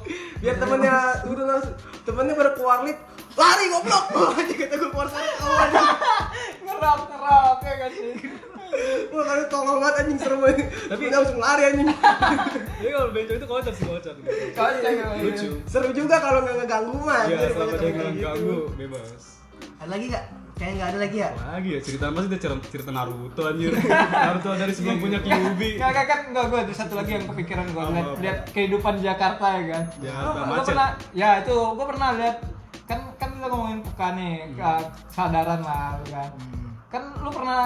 [SPEAKER 4] Biar temennya turun langsung. Temennya baru keluar lift. Lari goblok. (laughs) Anjing kata gue keluar sana kawan.
[SPEAKER 2] Ngerap, ngerap ya kan sih.
[SPEAKER 4] Wah, kan tolong banget anjing serem banget.
[SPEAKER 1] Tapi-
[SPEAKER 4] Tapi langsung lari anjing.
[SPEAKER 1] jadi kalau bencong itu kocak sih kocak
[SPEAKER 2] Kocak ya.
[SPEAKER 1] lucu
[SPEAKER 4] Seru juga kalau nggak ngeganggu mah.
[SPEAKER 1] ya
[SPEAKER 4] anjir,
[SPEAKER 1] selama
[SPEAKER 4] kalau
[SPEAKER 1] dia nggak
[SPEAKER 4] temen kayak gitu.
[SPEAKER 1] ganggu bebas
[SPEAKER 3] ada lagi nggak kayaknya nggak ada lagi ya
[SPEAKER 1] lagi ya cerita masih dia cerita, cerita Naruto anjir Naruto dari sebelum punya Kyuubi
[SPEAKER 2] Enggak, kan enggak gua ada satu lagi yang kepikiran gua
[SPEAKER 1] Apa,
[SPEAKER 2] lihat
[SPEAKER 1] apa?
[SPEAKER 2] lihat kehidupan Jakarta ya kan.
[SPEAKER 1] Jakarta,
[SPEAKER 2] Gua- gua
[SPEAKER 1] macet.
[SPEAKER 2] pernah ya itu gua pernah lihat kan kan kita ngomongin peka nih,
[SPEAKER 4] Hmm.
[SPEAKER 2] ke- kesadaran lah lu kan. Kan lu pernah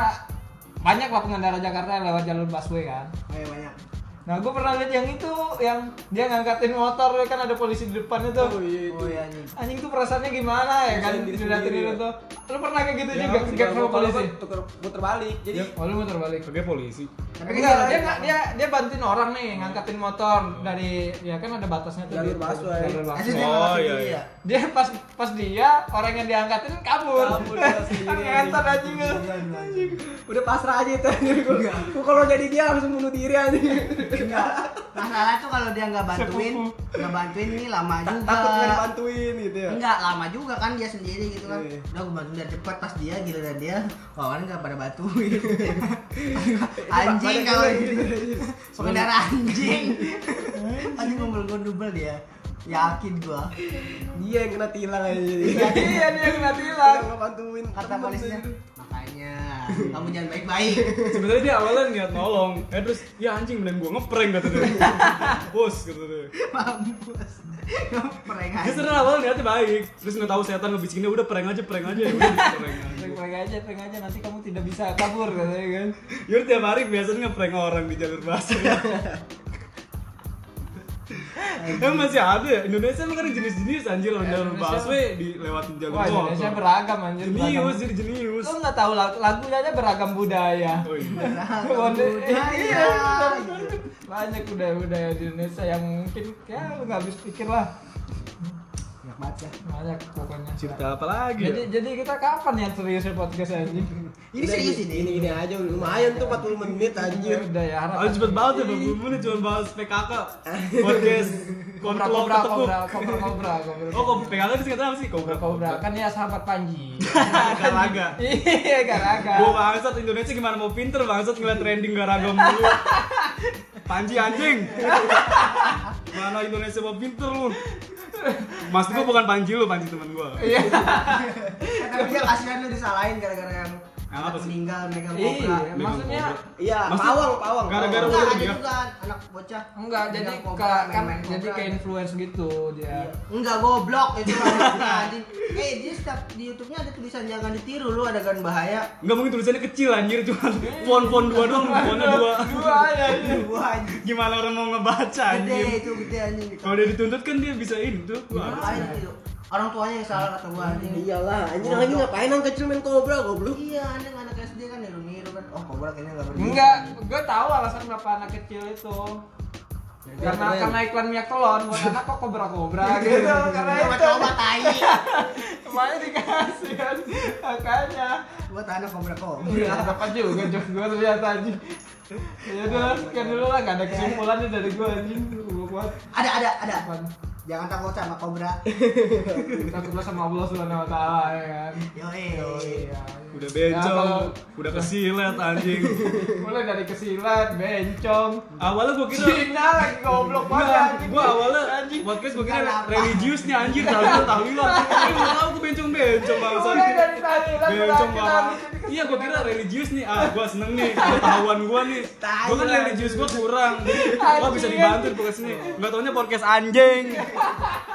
[SPEAKER 2] banyak lah pengendara Jakarta yang lewat jalur busway kan.
[SPEAKER 3] banyak Oh, iya, banyak
[SPEAKER 2] Nah, gue pernah lihat yang itu, yang dia ngangkatin motor kan ada polisi di depan itu.
[SPEAKER 4] Oh iya itu.
[SPEAKER 3] oh iya anjing
[SPEAKER 2] Anjing tuh perasaannya gimana ya kan?
[SPEAKER 4] Rasain diri
[SPEAKER 2] Dilihatin
[SPEAKER 4] sendiri,
[SPEAKER 2] itu
[SPEAKER 4] ya.
[SPEAKER 2] tuh. Lu pernah kayak gitu
[SPEAKER 4] Ya,
[SPEAKER 2] juga gap
[SPEAKER 4] kalau
[SPEAKER 2] sama
[SPEAKER 4] gua- kalau
[SPEAKER 2] polisi?
[SPEAKER 4] gua tuker puter balik. Jadi
[SPEAKER 2] Oh, lu muter balik.
[SPEAKER 1] Oke polisi.
[SPEAKER 2] Tapi enggak, dia enggak dia dia bantuin orang nih ngangkatin motor dari ya kan ada batasnya tuh.
[SPEAKER 4] Jalur
[SPEAKER 2] di-
[SPEAKER 4] busway.
[SPEAKER 2] Jalur
[SPEAKER 3] Asli
[SPEAKER 2] busway.
[SPEAKER 3] dia
[SPEAKER 1] Oh,
[SPEAKER 3] malah
[SPEAKER 1] iya,
[SPEAKER 3] sendiri
[SPEAKER 1] iya.
[SPEAKER 3] ya
[SPEAKER 2] Dia pas pas dia orang yang diangkatin kabur.
[SPEAKER 4] Kabur, dia sendiri,
[SPEAKER 2] Kan (laughs) ngentot anjing lu.
[SPEAKER 4] udah pasrah aja itu anjir gua. Gua kalau jadi dia langsung bunuh diri aja.
[SPEAKER 3] Enggak. Masalah tuh kalau dia nggak
[SPEAKER 2] (laughs)
[SPEAKER 3] bantuin, nggak bantuin ini lama juga.
[SPEAKER 4] Takut nggak dibantuin gitu ya.
[SPEAKER 3] Enggak, lama juga kan dia sendiri gitu kan.
[SPEAKER 4] Iya.
[SPEAKER 3] Udah gue bantuin biar cepat pas dia giliran dia kawan nggak pada
[SPEAKER 4] (laughs)
[SPEAKER 3] bantuin.
[SPEAKER 4] Iya.
[SPEAKER 3] anjing
[SPEAKER 4] Badan
[SPEAKER 3] kalau
[SPEAKER 4] gua
[SPEAKER 3] gitu.
[SPEAKER 4] anjing.
[SPEAKER 3] Pengendara anjing. anjing ngomel gondubel dia. Yakin gua.
[SPEAKER 4] Dia yang kena tilang aja jadi.
[SPEAKER 2] Iya, dia yang kena
[SPEAKER 4] Dia
[SPEAKER 2] tilang.
[SPEAKER 4] yang ngebantuin
[SPEAKER 3] Kata
[SPEAKER 4] temen
[SPEAKER 3] polisnya.
[SPEAKER 4] tuh.
[SPEAKER 3] Makanya kamu jangan
[SPEAKER 4] (laughs)
[SPEAKER 3] baik-baik.
[SPEAKER 1] Sebenarnya dia awalnya niat nolong, eh terus ya anjing mending gua ngeprank kata dia. (laughs) Bos kata dia.
[SPEAKER 3] Mampus. Ngeprank
[SPEAKER 4] (laughs)
[SPEAKER 1] Dia
[SPEAKER 3] aja.
[SPEAKER 1] sebenarnya awalnya niatnya baik, terus nggak tahu setan ngebisikinnya udah prank aja, prank aja, ya udah prank aja.
[SPEAKER 2] Pengen aja, pengen aja nanti kamu tidak bisa kabur katanya kan.
[SPEAKER 1] Yur tiap hari biasanya ngeprank orang di jalur
[SPEAKER 2] (laughs)
[SPEAKER 1] busway. Emang masih ada ya? Indonesia emang kan ada jenis-jenis anjir orang
[SPEAKER 2] Ya,
[SPEAKER 1] jalur
[SPEAKER 2] Indonesia-
[SPEAKER 1] busway dilewatin jalur
[SPEAKER 2] Wah, Indonesia
[SPEAKER 1] motor.
[SPEAKER 2] beragam anjir.
[SPEAKER 1] Jenius,
[SPEAKER 2] beragam.
[SPEAKER 1] jadi jenius.
[SPEAKER 2] Lu nggak tahu lagu, lagunya aja beragam budaya.
[SPEAKER 1] Oh iya.
[SPEAKER 3] Nah,
[SPEAKER 2] (laughs) Wonder-
[SPEAKER 3] budaya.
[SPEAKER 2] iya. Banyak budaya-budaya di Indonesia yang mungkin ya lu nggak habis pikir lah.
[SPEAKER 3] Ya,
[SPEAKER 4] baca
[SPEAKER 2] banyak pokoknya
[SPEAKER 1] Cerita apa lagi? ya?
[SPEAKER 2] jadi jadi kita kapan ya seriusnya podcast anjing
[SPEAKER 3] Ini serius ini.
[SPEAKER 4] ini ini aja lumayan tuh 40 menit anjir
[SPEAKER 2] udah ya harap
[SPEAKER 1] Aku cepet banget ya, 20 menit cuma bahas PKK Podcast
[SPEAKER 2] kobra
[SPEAKER 1] Kontlok
[SPEAKER 2] kobra
[SPEAKER 1] ketekuk
[SPEAKER 2] kobra kobra kobra kobra
[SPEAKER 1] Oh, kok PKK itu singkatan apa sih? Kobra
[SPEAKER 2] kobra kobra
[SPEAKER 1] (laughs)
[SPEAKER 2] kan ya sahabat Panji
[SPEAKER 1] Garaga
[SPEAKER 2] iya garaga
[SPEAKER 1] Gua bangsat Indonesia gimana mau pinter bangsat ngeliat trending garaga mulu Panji anjing Mana Indonesia mau pinter lu Mas gua bukan Panji lu, Panji temen gua
[SPEAKER 2] iya
[SPEAKER 3] Tapi dia kasihan lu disalahin gara-gara yang
[SPEAKER 1] Yang apa sih?
[SPEAKER 3] meninggal megang
[SPEAKER 2] iya
[SPEAKER 3] kobra.
[SPEAKER 1] Megang
[SPEAKER 2] maksudnya
[SPEAKER 1] kobra.
[SPEAKER 4] iya
[SPEAKER 1] Maksud-
[SPEAKER 4] pawang pawang
[SPEAKER 1] Gara-gara
[SPEAKER 3] Enggak,
[SPEAKER 4] pawang.
[SPEAKER 1] ular
[SPEAKER 3] ada
[SPEAKER 1] dia.
[SPEAKER 3] juga anak bocah.
[SPEAKER 2] enggak jadi
[SPEAKER 3] megang
[SPEAKER 2] ke
[SPEAKER 3] kobra,
[SPEAKER 2] kan
[SPEAKER 3] main-main
[SPEAKER 2] jadi
[SPEAKER 3] kobra.
[SPEAKER 2] ke influence gitu dia
[SPEAKER 3] Enggak goblok itu orang
[SPEAKER 2] (laughs)
[SPEAKER 3] anjing. Eh, dia setiap di YouTube-nya ada tulisan jangan ditiru lu adegan bahaya.
[SPEAKER 1] Enggak mungkin tulisannya kecil anjir, cuman font-font dua dong, fontnya dua
[SPEAKER 2] dua ya
[SPEAKER 3] Wah, anjing.
[SPEAKER 1] Gimana orang mau ngebaca
[SPEAKER 3] Gede
[SPEAKER 1] anjir
[SPEAKER 3] Gitu itu gede anjing.
[SPEAKER 1] Kalau dia dituntut kan dia bisa ini tuh Wah,
[SPEAKER 3] Ngapain itu? Orang tuanya yang salah kata gua anjing.
[SPEAKER 2] Iya.
[SPEAKER 4] iyalah anjir lagi ngapain anak kecil main kobra goblok
[SPEAKER 3] Iya, anjing anak SD kan niru-niru kan. Oh, kobra kayaknya enggak berani.
[SPEAKER 2] enggak gue tahu alasan kenapa anak kecil itu karena
[SPEAKER 4] keren.
[SPEAKER 2] karena iklan minyak telon buat anak kok kobra kobra gitu karena
[SPEAKER 3] Coba
[SPEAKER 2] itu
[SPEAKER 3] coba (laughs) tai.
[SPEAKER 2] (laughs) Makanya dikasih kan Makanya
[SPEAKER 3] Buat anak kobra
[SPEAKER 2] Udah
[SPEAKER 3] kobra.
[SPEAKER 2] Iya, apa juga jok gue ternyata anjing Ya udah sekian dulu lah Gak ada kesimpulannya dari gue anjing Gue kuat
[SPEAKER 3] Ada ada ada.
[SPEAKER 2] Apaan?
[SPEAKER 3] Jangan takut sama kobra.
[SPEAKER 2] Takutlah sama Allah subhanahu wa ta'ala ya kan
[SPEAKER 3] Yoi.
[SPEAKER 2] Iya.
[SPEAKER 1] Udah bencong,
[SPEAKER 2] Ya, kalau-
[SPEAKER 1] udah kesilet
[SPEAKER 2] (laughs)
[SPEAKER 1] anjing
[SPEAKER 2] Mulai dari kesilat, bencong
[SPEAKER 1] Awalnya gua kira
[SPEAKER 2] Cina lagi goblok banget
[SPEAKER 1] Enggak,
[SPEAKER 2] anjing
[SPEAKER 1] gua awalnya
[SPEAKER 2] Anjing
[SPEAKER 1] podcast gue kira
[SPEAKER 3] Bukan apa.
[SPEAKER 1] religius nih anjir, tahlilan
[SPEAKER 2] (laughs)
[SPEAKER 1] tahlilan. Tapi gua tahu gue bencong-bencong bangsa.
[SPEAKER 2] Mulai dari tahlilan
[SPEAKER 1] Bencong
[SPEAKER 2] berarti
[SPEAKER 1] bang.
[SPEAKER 2] habis ini
[SPEAKER 1] Iya, gua kira religius nih. Ah, gua seneng nih pengetahuan gua nih. Gua kan
[SPEAKER 3] Tahlilan.
[SPEAKER 1] religius gua kurang. Jadi, Wah, bisa dibantu di podcast ini. Enggak taunya podcast anjing.